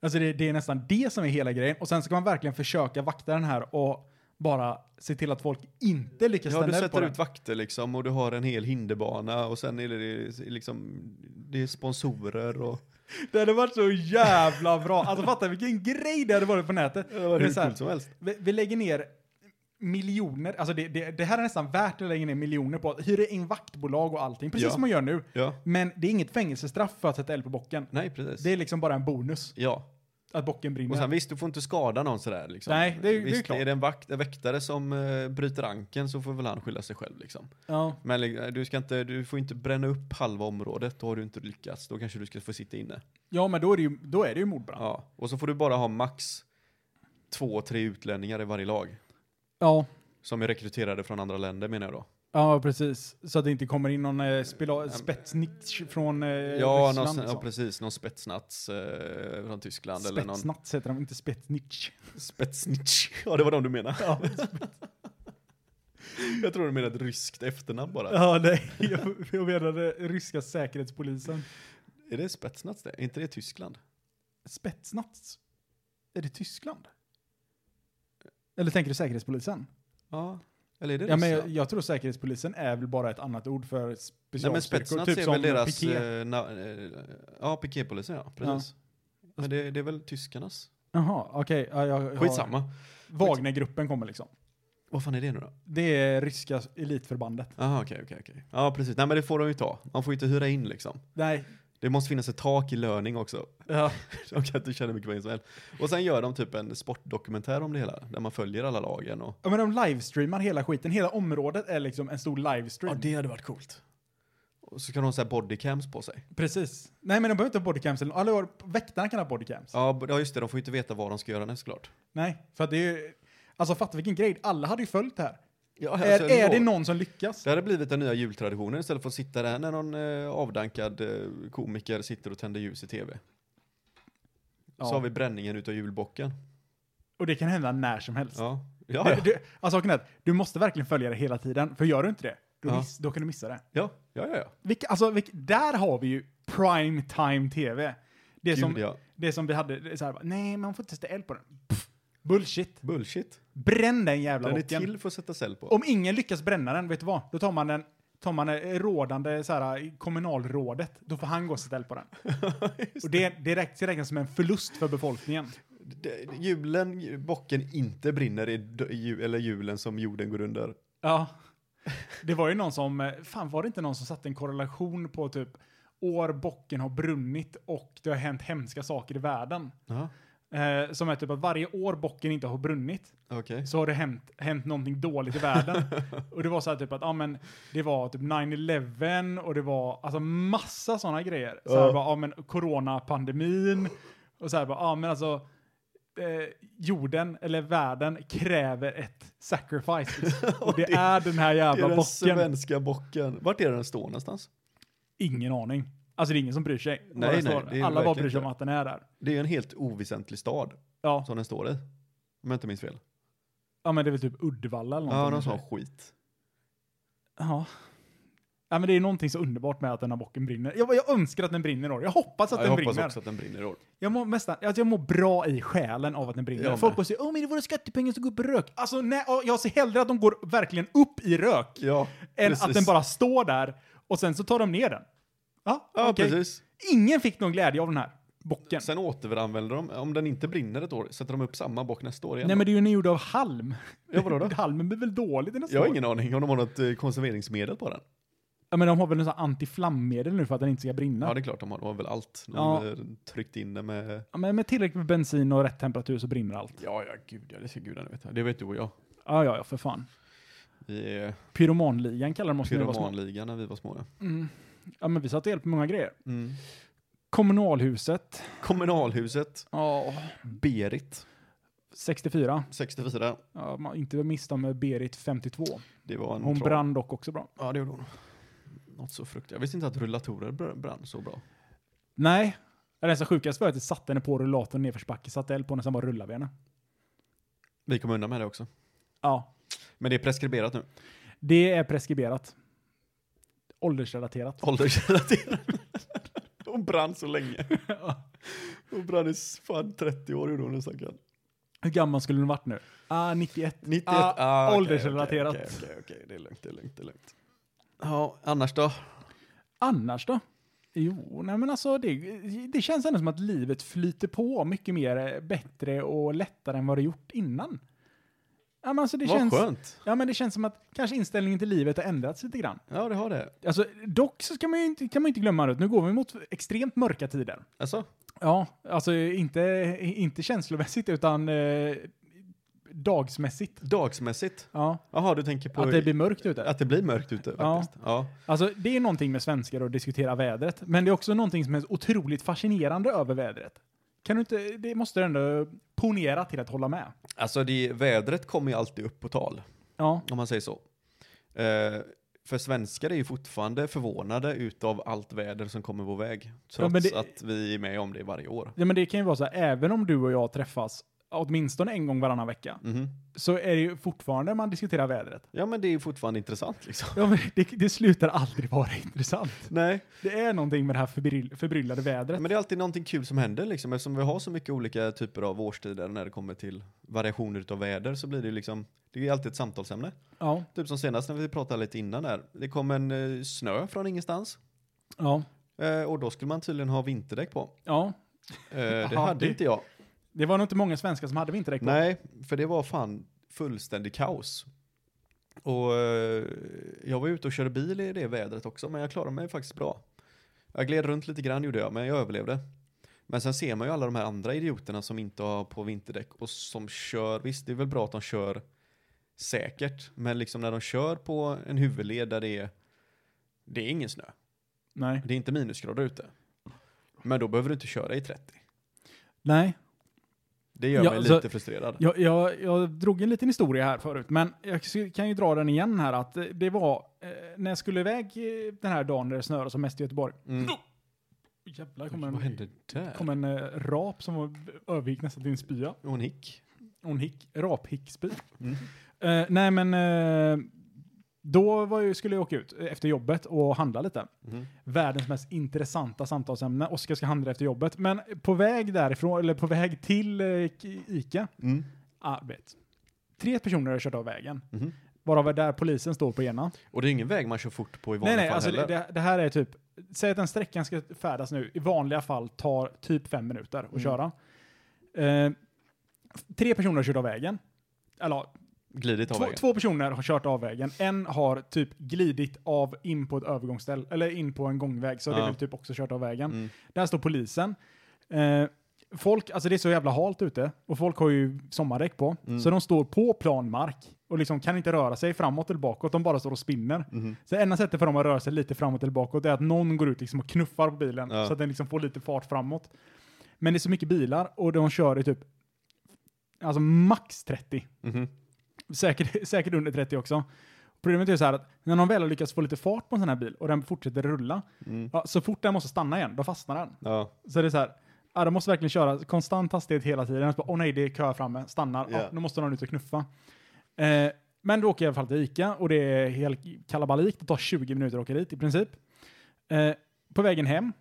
S1: Alltså det, det är nästan det som är hela grejen. Och sen ska man verkligen försöka vakta den här och bara se till att folk inte lyckas
S3: Ja, du
S1: tända eld på
S3: sätter
S1: den.
S3: ut vakter liksom och du har en hel hinderbana och sen är det, det är liksom, det är sponsorer och...
S1: Det hade varit så jävla bra. Alltså fatta vilken grej det hade varit på nätet.
S3: Det var
S1: Det är
S3: hur
S1: så här,
S3: coolt som helst.
S1: Vi, vi lägger ner miljoner, alltså det, det, det här är nästan värt att lägga ner miljoner på. Hyra in vaktbolag och allting, precis
S3: Ja.
S1: som man gör nu.
S3: Ja.
S1: Men det är inget fängelsestraff för att sätta eld på bocken.
S3: Nej, precis.
S1: Det är liksom bara en bonus,
S3: Ja.
S1: att bocken brinner.
S3: Och sen visst, du får inte skada någon sådär liksom.
S1: Nej, det är ju- det är ju
S3: visst,
S1: klart.
S3: Är det en, vakt, en väktare som eh, bryter anken så får väl han skylla sig själv liksom.
S1: ja.
S3: Men eh, du, ska inte, du får inte bränna upp halva området, då har du inte lyckats. Då kanske du ska få sitta inne.
S1: ja, men då är det ju, då är det ju mordbrand. Ja.
S3: Ja. Och så får du bara ha max två, tre utlänningar i varje lag.
S1: ja.
S3: Som är rekryterade från andra länder menar jag då.
S1: precis. Så att det inte kommer in någon eh, spela- spetsnitch från eh,
S3: Ja,
S1: Ryssland.
S3: någon,
S1: liksom.
S3: ja precis, någon spetsnats eh, från Tyskland eller någon
S1: Spetsnats heter de, inte spetsnitch.
S3: spetsnitch. Ja, det var de du menade. jag tror du menade ett ryskt efternamn bara.
S1: Ja, nej. Jag, jag menade ryska säkerhetspolisen.
S3: Är det spetsnats det? Är inte det Tyskland?
S1: Spetsnaz? Är det Tyskland? Eller tänker du säkerhetspolisen?
S3: Ja. Eller är det
S1: Ja, men jag,
S3: Ryssland?
S1: jag tror säkerhetspolisen är väl bara ett annat ord för
S3: Nej
S1: specialstyrkor.
S3: men
S1: typ
S3: spetsnats är
S1: som
S3: väl deras...
S1: piké.
S3: eh, na, eh, ja, piketpolisen ja, precis. Men det, det är väl tyskarnas?
S1: Jaha, okej. ja, jag har-
S3: Skitsamma.
S1: Wagnergruppen kommer liksom.
S3: Vad fan är det nu då?
S1: Det är ryska elitförbandet.
S3: Jaha, okej, okej, okej. Ja, precis. Nej men det får de ju ta. Man får ju inte hyra in liksom.
S1: Nej.
S3: Det måste finnas ett tak i löning också.
S1: Ja.
S3: De kan inte tjäna mycket pengar som helst. Och sen gör de typ en sportdokumentär om det hela, där man följer alla lagen och...
S1: Men de livestreamar hela skiten. Hela området är liksom en stor livestream.
S3: hade varit coolt. Och så kan de ha så här bodycams på sig.
S1: Precis. Nej, men de behöver inte ha bodycams. eller- Alla har- väktarna kan ha bodycams.
S3: Ja, b- ja, just det, de får ju inte veta vad de ska göra nästa klart.
S1: Nej, för att det är ju... Alltså fatta vilken grej. Alla hade ju följt det här.
S3: Ja,
S1: är är det någon som lyckas?
S3: Det hade blivit den nya jultraditionen istället för att sitta där när någon eh, avdankad eh, komiker sitter och tänder ljus i tv.
S1: Ja.
S3: Så har vi bränningen utav julbocken.
S1: Och det kan hända när som helst.
S3: Ja, ja,
S1: Du,
S3: ja.
S1: du, alltså saken är att du måste verkligen följa det hela tiden, för gör du inte det, då,
S3: Ja.
S1: miss, då kan du missa det.
S3: ja, ja, ja, ja.
S1: Vilka, alltså, vilk, där har vi ju prime time tv. Det,
S3: Gud,
S1: som,
S3: ja.
S1: det som vi hade, det är så här, bara, nej man får inte sätta eld på den. Pff, Bullshit.
S3: Bullshit.
S1: Bränn den jävla
S3: Den är
S1: rocken.
S3: till för att sätta cell på.
S1: Om ingen lyckas bränna den, vet du vad? Då tar man den tar man det rådande så här, kommunalrådet, då får han gå och sätta eld på den. och det, det räknas det räknas som en förlust för befolkningen.
S3: D- d- Hjulen, ju- bocken inte brinner i d- ju- eller hjulen som jorden går under.
S1: Ja. Det var ju någon som, eh, fan var det inte någon som satte en korrelation på typ år bocken har brunnit och det har hänt hemska saker i världen.
S3: Ja,
S1: Eh, som är typ att varje år bocken inte har brunnit
S3: okej.
S1: så har det hänt, hänt någonting dåligt i världen. och det var så här typ att, ja men det var typ 9-11 och det var alltså massa sådana grejer. Så här
S2: Ja.
S1: bara, ja men coronapandemin och så här bara, ja men alltså eh, jorden eller världen kräver ett sacrifice. liksom. och det,
S3: det-
S1: är den här
S3: Det är
S1: jävla
S3: den
S1: bocken.
S3: svenska bocken. Vart är den står någonstans?
S1: Ingen aning. Alltså det är ingen som bryr sig. Vad
S3: Nej,
S1: det
S3: nej,
S1: står.
S3: det är det
S1: Alla bara
S3: verkligen
S1: bryr sig om
S3: inte.
S1: att den är där.
S3: Det är ju en helt oväsentlig stad
S1: Ja,
S3: som den står i. Om jag inte minns fel.
S1: ja men det är väl typ Uddevalla eller
S3: Ja, någon
S1: någonting.
S3: sån skit.
S1: Ja. Ja, men det är någonting så underbart med att den här bocken brinner. Jag, jag önskar att den brinner i år. Jag hoppas att
S3: Ja, jag
S1: den
S3: hoppas
S1: brinner.
S3: också att den brinner i år.
S1: Jag mår, nästan, alltså jag mår bra i själen av att den brinner.
S3: Jag med.
S1: Folk bara säger åh men det är våra skattepengar som går upp i rök. Alltså nej, ja, jag ser hellre att de går verkligen upp i rök
S3: Ja,
S1: än
S3: precis.
S1: att den bara står där och sen så tar de ner den. Ja,
S3: Ja,
S1: okej.
S3: precis.
S1: Ingen fick någon glädje av den här bocken.
S3: Sen återanvänder de, om den inte brinner ett år, sätter de upp samma bock nästa år igen.
S1: Nej
S3: då?
S1: men det är ju den gjord av halm.
S3: Ja, vadå då?
S1: Halmen blir väl dålig den
S3: Jag har ingen aning om de har något eh, konserveringsmedel på den.
S1: Ja men de har väl en sån här antiflammedel nu för att den inte ska brinna.
S3: Ja, det är klart de har. De har väl allt. De
S1: Ja.
S3: har tryckt in det med...
S1: Ja, men med tillräckligt med bensin och rätt temperatur så brinner allt.
S3: Ja, ja, gud ja, det ska gudarna veta. Det vet du och jag.
S1: Ja, ja, ja, för fan.
S3: Vi är
S1: Pyromanligan kallar de oss när vi var små.
S3: pyromanliga när vi var små. ja.
S1: Mm. Ja, men vi satte hjälp med många grejer.
S3: Mm.
S1: Kommunalhuset.
S3: Kommunalhuset,
S1: Ja.
S3: Berit,
S1: 64.
S3: 64.
S1: Ja, man, inte mista med Berit 52.
S3: Det var en
S1: Hon
S3: tra-
S1: brann dock också bra.
S3: Ja, det gjorde hon. Något så fruktansvärt. Jag visste inte att rullatorer br- brann så bra.
S1: Nej. Det som sjukast var att jag satte henne på rullatorn i nedförsbacke, satte eld på henne, sen bara rullade vi henne.
S3: Vi kom undan med det också.
S1: Ja,
S3: Men det är preskriberat nu.
S1: det är preskriberat. Åldersrelaterat.
S3: Åldersrelaterat. hon brann så länge. Hon brann i s- fan 30 år gjorde hon den stackaren.
S1: Hur gammal skulle hon varit nu? Ah, 91.
S3: 91.
S1: Ah,
S3: okej,
S1: åldersrelaterat.
S3: Okej, okej, okej, okej. det är lugnt, det är lugnt, det är lugnt. Ja, annars då?
S1: Annars då? Jo, nej men alltså det, det känns ändå som att livet flyter på mycket mer eh, bättre och lättare än vad det gjort innan. Ja, men alltså det
S3: Vad
S1: känns,
S3: skönt.
S1: Ja, men det känns som att kanske inställningen till livet har ändrats lite grann.
S3: Ja, det har det.
S1: Alltså, dock så ska man ju inte, kan man ju inte glömma att nu går vi mot extremt mörka tider.
S3: Alltså?
S1: Ja, alltså inte, inte känslomässigt utan eh, dagsmässigt.
S3: Dagsmässigt?
S1: Ja,
S3: Jaha, du tänker på
S1: att det blir mörkt ute.
S3: att det blir mörkt ute
S1: Ja.
S3: faktiskt? Ja.
S1: Alltså, det är någonting med svenskar att diskutera vädret, men det är också någonting som är otroligt fascinerande över vädret. Kan du inte, det måste du ändå ponera till att hålla med.
S3: Alltså, det, vädret kommer ju alltid upp på tal,
S1: Ja,
S3: om man säger så. Eh, för svenskar är ju fortfarande förvånade utav allt väder som kommer vår väg. Trots
S1: men det-
S3: att vi är med om det varje år.
S1: ja men det kan ju vara så här, även om du och jag träffas åtminstone en gång varannan vecka,
S3: Mhm.
S1: så är det ju fortfarande man diskuterar vädret.
S3: Ja, men det är ju fortfarande intressant liksom.
S1: Ja, men det, det slutar aldrig vara intressant.
S3: Nej,
S1: Det är någonting med det här förbryll, förbryllade vädret.
S3: men det är alltid någonting kul som händer liksom. Eftersom vi har så mycket olika typer av årstider när det kommer till variationer utav väder så blir det ju liksom, det är ju alltid ett samtalsämne.
S1: Ja,
S3: Typ som senast när vi pratade lite innan där. Det kom en eh, snö från ingenstans.
S1: ja,
S3: Eh, och då skulle man tydligen ha vinterdäck på.
S1: ja.
S3: Eh, det
S1: Jaha,
S3: hade
S1: det-
S3: inte jag.
S1: Det var nog inte många svenskar som hade vinterdäck på.
S3: Nej, för det var fan fullständig kaos. Och eh, jag var ute och körde bil i det vädret också, men jag klarade mig faktiskt bra. Jag gled runt lite grann gjorde jag, men jag överlevde. Men sen ser man ju alla de här andra idioterna som inte har på vinterdäck och som kör, visst det är väl bra att de kör säkert, men liksom när de kör på en huvudled där det är, det är ingen snö.
S1: Nej.
S3: Det är inte minusgrader ute. Men då behöver du inte köra i 30.
S1: Nej.
S3: Det gör
S1: Ja,
S3: mig
S1: så-
S3: lite frustrerad.
S1: Jag, jag, jag drog en liten historia här förut, men jag sk- kan ju dra den igen här att eh, det var eh, när jag skulle iväg eh, den här dagen när det snöade som mest i Göteborg.
S3: Mm.
S1: Jävlar, kom
S3: Vad
S1: en,
S3: hände där?
S1: kom en eh, rap som var- övergick nästan till en spya.
S3: Hon gick.
S1: Hon hick, raphickspy.
S3: Mm.
S1: Eh, nej men, eh, då var jag, skulle jag åka ut eh, efter jobbet och handla lite.
S3: Mm.
S1: världens mest intressanta samtalsämne.
S3: Mm.
S1: Oskar ska handla efter jobbet. Men på väg därifrån, eller på väg till eh, K- Ica, ah, du vet. Tre personer har kört av vägen.
S3: Mhm.
S1: Varav är där polisen står på ena.
S3: Och det är ingen väg man kör fort på i
S1: Nej,
S3: vanliga
S1: nej,
S3: fall
S1: alltså det,
S3: heller.
S1: det, det här är typ, säg att den sträckan ska färdas nu, i vanliga fall tar typ fem minuter att
S3: Mm.
S1: köra. Eh, tre personer har kört av vägen. Eller ja,
S3: Glidit av
S1: två,
S3: vägen.
S1: två personer har kört av vägen. En har typ glidit av in på ett övergångsställe, eller in på en gångväg, så det är
S3: Ja.
S1: väl typ också kört av vägen.
S3: Mm.
S1: Där står polisen. Eh, folk, alltså det är så jävla halt ute och folk har ju sommardäck på.
S3: Mm.
S1: Så de står på plan mark och liksom kan inte röra sig framåt eller bakåt. De bara står och spinner.
S3: Mhm.
S1: Så enda sättet för dem att röra sig lite framåt eller bakåt är att någon går ut liksom och knuffar på bilen
S3: Ja.
S1: så att den liksom får lite fart framåt. Men det är så mycket bilar och de kör i typ alltså max 30.
S3: Mhm.
S1: Säkert, säkert under 30 också. Problemet är ju så här att när de väl har lyckats få lite fart på en sån här bil och den fortsätter rulla,
S3: Mm.
S1: ja, så fort den måste stanna igen, då fastnar den.
S3: Ja.
S1: Så det är så här, ja, de måste verkligen köra konstant hastighet hela tiden. Så bara, Åh nej, det är kö framme, stannar,
S3: Ja.
S1: ja, nu måste någon ut och knuffa. Eh, men då åker jag i alla fall till Ica och det är helt kalabalik. Det tar 20 minuter att åka dit i princip. Eh, på vägen hem,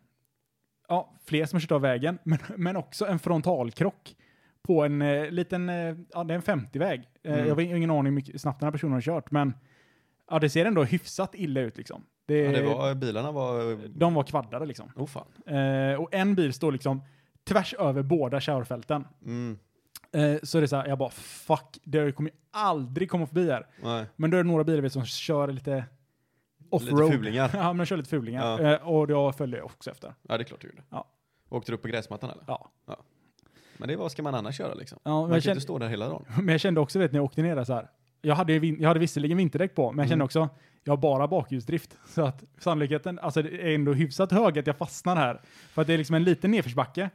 S1: ja, fler som har kört av vägen, men, men också en frontalkrock på en eh, liten, eh, ja det är en 50-väg. Eh,
S3: Mm.
S1: Jag har ingen aning hur mycket snabbt den här personen har kört, men ja, det ser ändå hyfsat illa ut liksom. Det,
S3: ja, det var, bilarna var...
S1: De var kvaddade liksom.
S3: Oh fan.
S1: Eh, och en bil står liksom tvärs över båda körfälten.
S3: Mm.
S1: Eh, så det är så här, jag bara fuck, det kommer ju aldrig komma förbi här.
S3: Nej.
S1: Men då är det några bilar vet, som kör lite offroad.
S3: Lite fulingar.
S1: ja, men de kör lite fulingar.
S3: Ja.
S1: Eh, och då följer jag också efter.
S3: Ja, det är klart du gjorde.
S1: Ja.
S3: Åkte du upp på gräsmattan eller?
S1: Ja.
S3: Men det är vad ska man annars göra liksom?
S1: Ja, men, jag
S3: Man kan ju inte
S1: kände,
S3: stå där hela dagen.
S1: men jag kände också vet, när jag åkte ner där så här. Jag hade, ju vin- jag hade visserligen vinterdäck på, men jag kände
S3: Mm.
S1: också, jag har bara bakhjulsdrift. Så att sannolikheten alltså, det är ändå hyfsat hög att jag fastnar här. För att det är liksom en liten nedförsbacke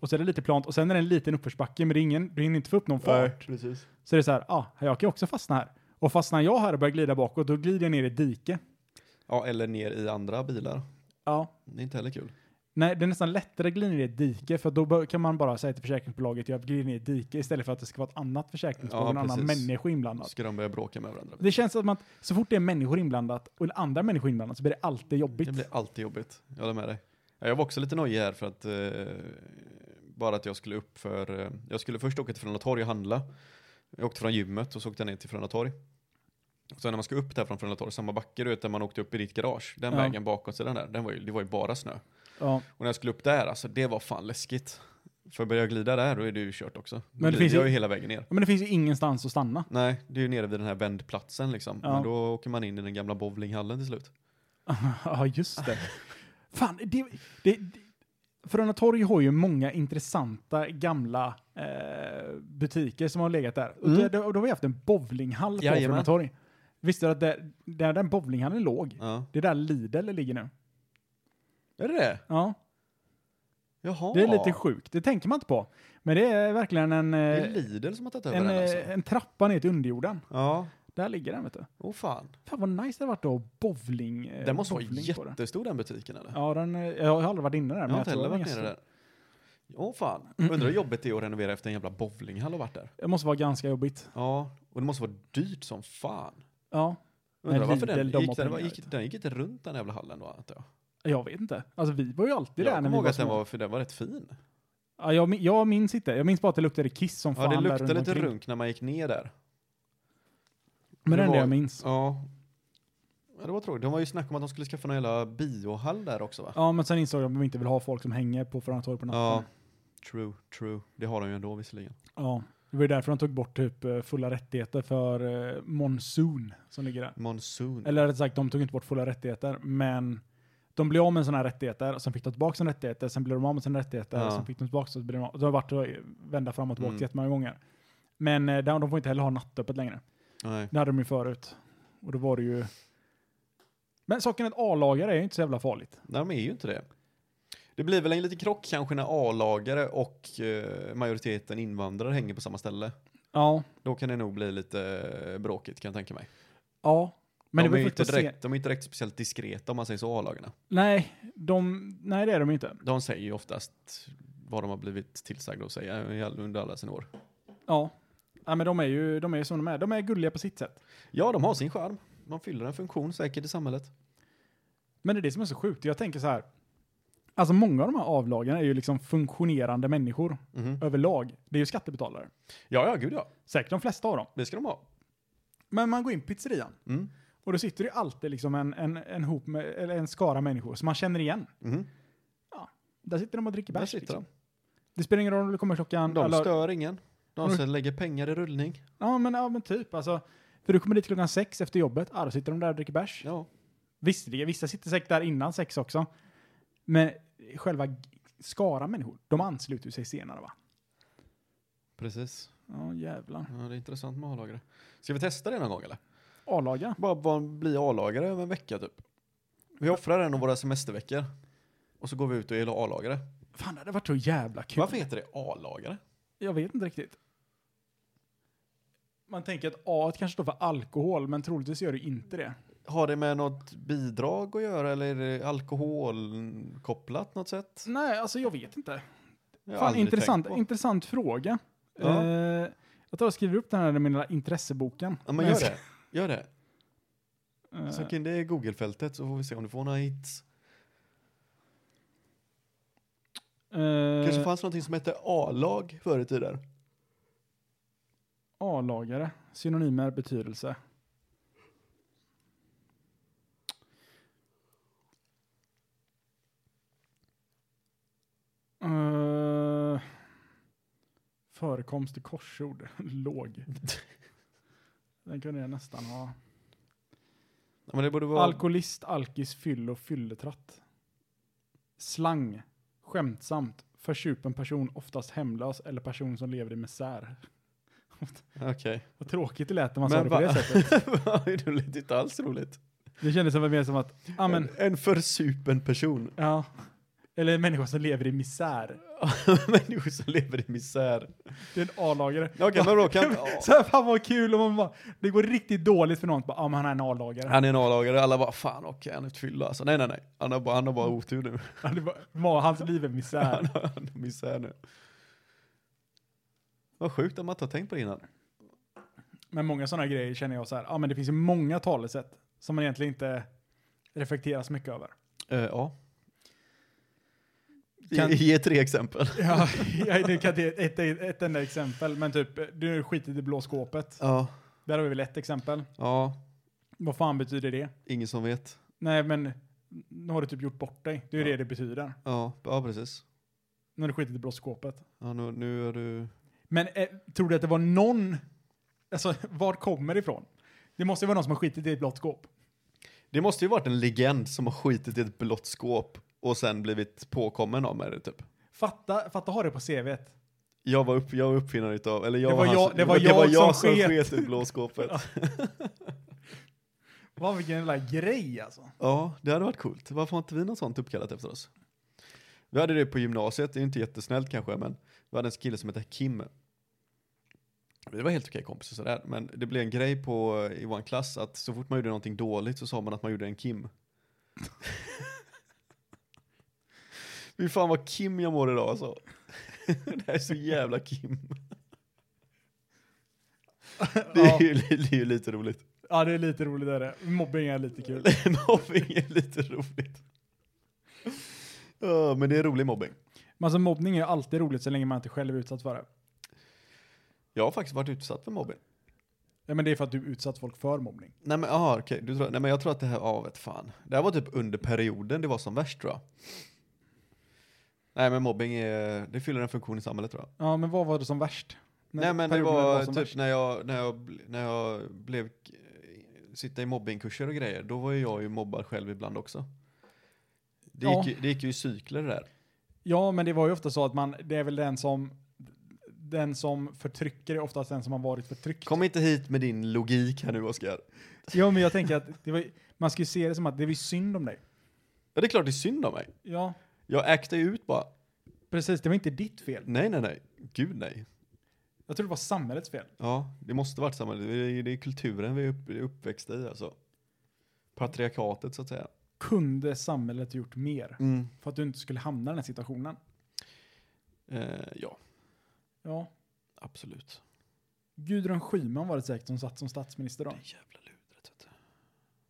S1: och så är det lite plant och sen är det en liten uppförsbacke, men det är ingen, du hinner inte få upp någon fart.
S3: precis.
S1: Så det är så här, ah, jag kan ju också fastna här. Och fastnar jag här och börjar glida bakåt, då glider jag ner i ett dike.
S3: Ja, eller ner i andra bilar.
S1: Ja.
S3: Det är inte heller kul.
S1: Nej, det är nästan lättare att glida ner i ett dike, för då bör- kan man bara säga till försäkringsbolaget, jag glider ner i ett dike, istället för att det ska vara ett annat försäkringsbolag,
S3: Ja,
S1: och en annan
S3: precis.
S1: människa inblandad.
S3: Ska de börja bråka med varandra?
S1: Det känns som att så fort det är människor inblandat, och andra människor inblandat, så blir det alltid jobbigt.
S3: Det blir alltid jobbigt. Jag håller med dig. Ja, Jag var också lite nojig här för att eh, bara att jag skulle upp för, eh, jag skulle först åka till Frölunda torg och handla. Jag åkte från gymmet och så åkte jag ner till Frölunda torg. Och sen när man ska upp där från Frölunda torg, samma backe du vet där man åkte upp i ditt garage, den
S1: Ja.
S3: vägen bakåt så den där, den var ju, det var ju bara snö.
S1: Ja.
S3: Och när jag skulle upp där alltså, det var fan läskigt. För börjar jag glida där då är det ju kört också. Då
S1: Men det
S3: glider
S1: finns ju-
S3: jag ju hela vägen ner.
S1: Men det finns ju ingenstans att stanna.
S3: Nej, det är ju nere vid den här vändplatsen liksom.
S1: Ja.
S3: Men då åker man in i den gamla bowlinghallen till slut.
S1: Ja, just det. Fan, det... det, det Frölunda torg har ju många intressanta gamla eh, butiker som har legat där. Och
S3: Mm.
S1: då- då, och då har vi haft en bowlinghall på
S3: Jajamän.
S1: Frölunda torg. Visste du att där, där den bowlinghallen låg,
S3: Ja.
S1: det är där Lidl ligger nu?
S3: Är det det?
S1: Ja,
S3: Jaha.
S1: det är lite sjukt. Det tänker man inte på. Men det är verkligen en, eh,
S3: Det är Lidl som har tagit över
S1: en,
S3: den alltså.
S1: eh, en trappa ner till underjorden.
S3: Ja,
S1: Där ligger den, vet du.
S3: åh fan.
S1: Fan vad nice det hade varit att ha bowling. eh,
S3: Den måste vara
S1: bowling på den.
S3: jättestor den butiken eller?
S1: Ja, den, eh, jag har aldrig varit inne där.
S3: jag
S1: men
S3: har inte
S1: tror
S3: heller
S1: den är Mm.
S3: varit nere
S1: jättestor.
S3: där. Åh fan. Undrar hur jobbigt det är att renovera efter en jävla bowlinghall och varit där.
S1: Det måste vara ganska jobbigt.
S3: Ja, och det måste vara dyrt som fan.
S1: Ja.
S3: Undrar
S1: Men Lidl,
S3: varför den
S1: de har
S3: gick, den,
S1: pengar,
S3: gick,
S1: vet du.
S3: den gick inte runt den jävla hallen då antar jag.
S1: Jag vet inte. Alltså vi var ju alltid
S3: jag
S1: där när
S3: kommer
S1: vi
S3: ihåg
S1: var
S3: att den
S1: små.
S3: var, för den var rätt fin.
S1: Ja, jag, min- jag minns inte. Jag minns bara att det luktade kiss som
S3: Ja,
S1: fan
S3: det
S1: där
S3: luktade
S1: runt
S3: lite
S1: omkring.
S3: runk när man gick ner där.
S1: Men det är
S3: Det
S1: det
S3: var-
S1: jag minns.
S3: Ja. ja det var tråkigt. De var ju snack om att de skulle skaffa någon jävla biohall där också va?
S1: Ja, men sen insåg jag att de inte vill ha folk som hänger på Frölunda torg på
S3: Ja.
S1: natten.
S3: True, true. Det har de ju ändå visserligen.
S1: Ja. Det var ju därför de tog bort typ eh, fulla rättigheter för eh, Monsoon som ligger där.
S3: Monsoon.
S1: Eller rätt sagt, de tog inte bort fulla rättigheter, men de blev av med sina rättigheter, och sen fick de tillbaka sina rättigheter, sen blev de av med sina rättigheter,
S3: Ja.
S1: sen fick de tillbaka så blev de av. De har varit och vända fram och tillbaka
S3: Mm.
S1: jättemånga gånger. Men eh, de de får inte heller ha nattöppet längre.
S3: Nej.
S1: Det hade de ju förut. Och då var det ju... Men saken är att A-lagare är ju inte så jävla farligt.
S3: Nej, de är ju inte det. Det blir väl en liten krock kanske när A-lagare och eh, majoriteten invandrare hänger på samma ställe.
S1: Ja.
S3: Då kan det nog bli lite eh, bråkigt kan jag tänka mig.
S1: Ja. Men det
S3: de, är
S1: var
S3: ju
S1: inte
S3: inte
S1: se.
S3: direkt, de är inte direkt speciellt diskreta om man säger så, A-lagarna.
S1: Nej, de... Nej, det är de ju inte.
S3: De säger ju oftast vad de har blivit tillsagda att säga i all- under alla sina år.
S1: Ja. Nej, men de är ju de är ju som de är. De är gulliga på sitt sätt.
S3: Ja, de har sin charm. De fyller en funktion säkert i samhället.
S1: Men det är det som är så sjukt. Jag tänker så här. Alltså många av de här avlagarna är ju liksom funktionerande människor
S3: Mhm.
S1: överlag. Det är ju skattebetalare.
S3: Ja, ja, gud ja.
S1: Säkert de flesta av dem.
S3: Det ska de ha.
S1: Men man går in på pizzerian
S3: Mm.
S1: och då sitter det ju alltid liksom en, en, en, hop med, eller en skara människor som man känner igen.
S3: Mhm.
S1: Där sitter de och dricker
S3: Där
S1: bärs.
S3: sitter
S1: Liksom.
S3: de.
S1: Det spelar ingen roll om du kommer klockan...
S3: De
S1: eller-
S3: stör ingen. De
S1: Mm.
S3: sen lägger pengar i rullning.
S1: ja, men, ja, men typ. Alltså, för du kommer dit klockan sex efter jobbet. Ja, då sitter de där och dricker bärs.
S3: Ja.
S1: Visserligen, vissa sitter säkert där innan sex också. Men själva g- skara människor, de ansluter sig senare va?
S3: Precis.
S1: Ja, jävlar.
S3: Ja, det är intressant med A-lagare. Ska vi testa det någon gång eller?
S1: A-laga.
S3: Bara va- bli A-lagare över en vecka typ. Vi offrar en av våra semesterveckor. Och så går vi ut och är A-lagare.
S1: Fan, det hade varit så jävla kul.
S3: Varför heter det A-lagare?
S1: Jag vet inte riktigt. Man tänker att A kanske står för alkohol, men troligtvis gör det inte det.
S3: Har det med något bidrag att göra eller är det alkoholkopplat något sätt?
S1: Nej, alltså jag vet inte.
S3: Jag har
S1: Fan,
S3: aldrig
S1: intressant,
S3: tänkt på.
S1: intressant fråga.
S3: Ja.
S1: Eh, jag tar och skriver upp den här i min lilla intresseboken.
S3: Ja, men gör det. Gör det.
S1: Eh,
S3: Sök in det i Google-fältet så får vi se om du får några hits.
S1: eh,
S3: Kanske fanns någonting som hette A-lag förr i tiden.
S1: A-lagare, synonymer, betydelse. Eh, förekomst i korsord, låg. Den kunde jag nästan ha.
S3: Ja, men det borde vara...
S1: Alkoholist, alkis, fyllo, fylletratt. Slang, skämtsamt, förtjupen person, oftast hemlös eller person som lever i misär.
S3: Okej.
S1: Vad tråkigt det lät när man sa
S3: Men
S1: det på
S3: va-
S1: det sättet.
S3: det är roligt, inte alls roligt.
S1: Det kändes som, mer som att, ja men,
S3: En, en försupen person.
S1: ja. Eller en människa som lever i misär.
S3: Människor som lever i misär.
S1: Det är en A-lagare.
S3: Okej, men då kan...
S1: Så här, fan vad kul om man bara, det går riktigt dåligt för någon. Bara, ja men han är en A-lagare.
S3: Han är en A-lagare, alla bara fan okej, han är ett fylla alltså. Nej nej nej, han har bara, han har bara otur nu.
S1: Han är bara- ma- Hans liv är misär.
S3: Han har han har misär nu. Vad sjukt att man inte har tänkt på det innan.
S1: Men många sådana grejer känner jag så här, ja men det finns ju många talesätt som man egentligen inte reflekterar så mycket över.
S3: Eh, ja.
S1: Kan-
S3: Ge, ge tre exempel.
S1: Ja, jag nu kan jag ge ett, ett, ett enda exempel, men typ, du skiter i det blå skåpet.
S3: Ja,
S1: Där har vi väl ett exempel.
S3: ja,
S1: Vad fan betyder det?
S3: ingen som vet.
S1: Nej, men nu har du typ gjort bort dig. Det är ju
S3: Ja.
S1: det det betyder.
S3: Ja, ja precis.
S1: När du skiter i blåskåpet.
S3: Ja, nu, nu är du...
S1: Men eh, tror du att det var någon... Alltså, var kommer det ifrån? Det måste ju vara någon som har skitit i ett blått skåp.
S3: Det måste ju varit en legend som har skitit i ett blått skåp och sen blivit påkommen av med det typ.
S1: Fatta, fatta ha det på CVt.
S3: Jag var, upp, jag var uppfinnare utav, eller jag
S1: Det var
S3: han
S1: jag-
S3: som-
S1: det var jag som sket.
S3: sket i blåskåpet.
S1: Vad vilken jävla grej alltså.
S3: Ja, det hade varit coolt. Varför har inte vi något sånt uppkallat efter oss? Vi hade det på gymnasiet, det är inte jättesnällt kanske, men vi hade en kille som hette Kim. Vi var helt okej kompisar sådär, men det blev en grej på, i vår klass att så fort man gjorde någonting dåligt så sa man att man gjorde en Kim. Fy fan vad Kim jag mår idag alltså. det här är så jävla Kim. Det är, ju, det är ju lite roligt.
S1: Ja, det är lite roligt där det. Mobbing är lite kul.
S3: mobbing är lite roligt. Ja, men det är rolig mobbing.
S1: Men alltså mobbning är ju alltid roligt så länge man inte själv är utsatt för det.
S3: Jag har faktiskt varit utsatt för mobbing.
S1: Ja, men det är för att du utsatt folk för mobbning.
S3: Nej men, aha, okej. Du tror, nej men jag tror att det här, ja vet fan. Det här var typ under perioden det var som värst tror jag. Nej men mobbing är, det fyller en funktion i samhället tror jag.
S1: Ja, men vad var det som värst? När-
S3: nej men det
S1: perioden
S3: var
S1: som
S3: typ
S1: värst.
S3: när jag, när jag, bl- när jag blev, eh, sitta i mobbingkurser och grejer, då var ju jag ju mobbad själv ibland också. Det
S1: Ja.
S3: gick, ju, det gick ju i cykler det där.
S1: Ja, men det var ju ofta så att man, det är väl den som, den som förtrycker är oftast den som har varit förtryckt.
S3: Kom inte hit med din logik här nu Oskar.
S1: Ja, men jag tänker att det var, man ska ju se det som att det är ju synd om dig.
S3: Ja det är klart det är synd om mig.
S1: Ja,
S3: Jag äkte ju ut bara.
S1: precis. Det var inte ditt fel.
S3: Nej, nej, nej. Gud nej.
S1: Jag tror det var samhällets fel.
S3: Ja, det måste varit samma. Det är, det är kulturen vi är upp, uppväxta i alltså. Patriarkatet så att säga.
S1: Kunde samhället gjort mer
S3: Mm.
S1: för att du inte skulle hamna i den här situationen?
S3: Eh, ja,
S1: Ja.
S3: absolut.
S1: Gudrun Schyman var det säkert som satt som statsminister
S3: Det
S1: då.
S3: är jävla ludret. vet du.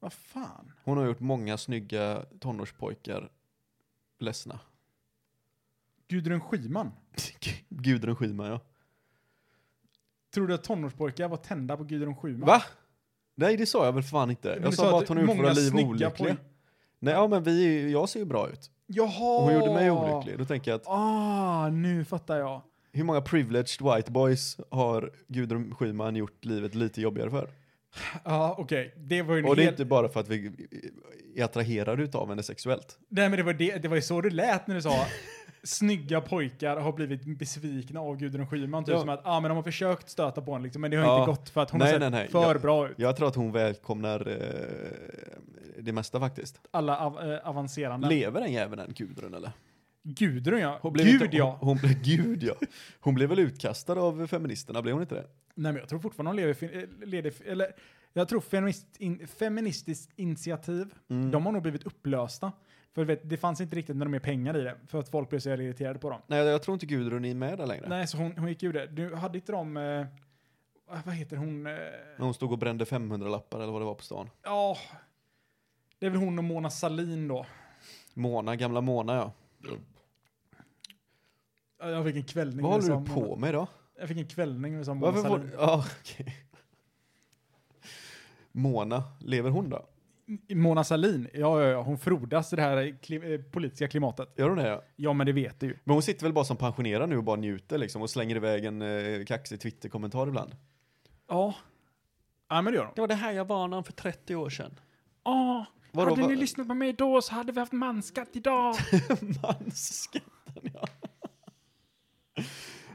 S1: Vad fan?
S3: Hon har gjort många snygga tonårspojkar ledsna.
S1: Gudrun Schyman.
S3: Gudrun Schyman ja.
S1: Tror du att tonårspojkar var tända på Gudrun Schyman?
S3: Va? Nej det sa jag väl fan inte.
S1: Men
S3: Jag
S1: du
S3: sa bara att hon har gjort
S1: många
S3: våra liv
S1: snygga
S3: olyckliga.
S1: poj-
S3: Nej ja men vi, är ju- jag ser ju bra ut.
S1: Jaha!
S3: Och hon gjorde mig olycklig. Då tänker jag att
S1: Ah, nu fattar jag.
S3: hur många privileged white boys har Gudrun Schyman gjort livet lite jobbigare för?
S1: Ja, okej. Det var ju en
S3: Och det är
S1: hel...
S3: inte bara för att vi är attraherade utav henne sexuellt.
S1: Nej, men det var, det, det var ju så du lät när du sa snygga pojkar har blivit besvikna av Gudrun Schyman. Typ
S3: Ja.
S1: som att, ah, men de har försökt stöta på henne liksom, men det har
S3: Ja.
S1: inte gått för att hon
S3: Nej,
S1: har sett
S3: nej, nej.
S1: för
S3: Ja.
S1: bra ut.
S3: Jag tror att hon välkomnar eh, det mesta faktiskt.
S1: Alla av, eh, avancerande.
S3: Lever den jäveln än Gudrun eller?
S1: Gudrun ja.
S3: Hon blev
S1: Gud
S3: inte,
S1: ja.
S3: Hon, hon, blev- gud ja. Hon blev väl utkastad av feministerna, blev hon inte det?
S1: Nej, men jag tror fortfarande hon lever, fin- eh, leder, eller jag tror feminist, in, feministiskt initiativ,
S3: Mm.
S1: de har nog blivit upplösta. För du vet, det fanns inte riktigt några mer pengar i det, för att folk blev så jävla irriterade på dem.
S3: Nej, jag tror inte Gudrun är med där längre.
S1: Nej, så hon, hon gick ur det. Du hade inte de, eh, vad heter hon, eh,
S3: När hon stod och brände 500 lappar eller vad det var på stan.
S1: ja, ah, det är väl hon och Mona Salin då.
S3: Mona, gamla Mona ja.
S1: Ja, Jag fick en kvällning.
S3: Vad
S1: när jag
S3: håller du
S1: sa
S3: på
S1: Mona,
S3: med då?
S1: Jag fick en kvällning när jag sa Mona
S3: Varför får
S1: Salin.
S3: du... Ja, okej. Mona, lever hon då?
S1: Mona Salin, ja, ja, ja, hon frodas i det här kli, eh, politiska klimatet.
S3: Gör hon det ja?
S1: Ja, men det vet du ju.
S3: Men hon sitter väl bara som pensionerad nu och bara njuter liksom och slänger iväg en eh, kaxig Twitter-kommentar ibland.
S1: Ja. Ja, men det gör hon.
S3: Det var det här jag varnade om för 30 år sedan.
S1: Ja,
S3: Vadå,
S1: hade
S3: va-
S1: ni lyssnat på mig då så hade vi haft manskatt idag.
S3: Mansskatten ja.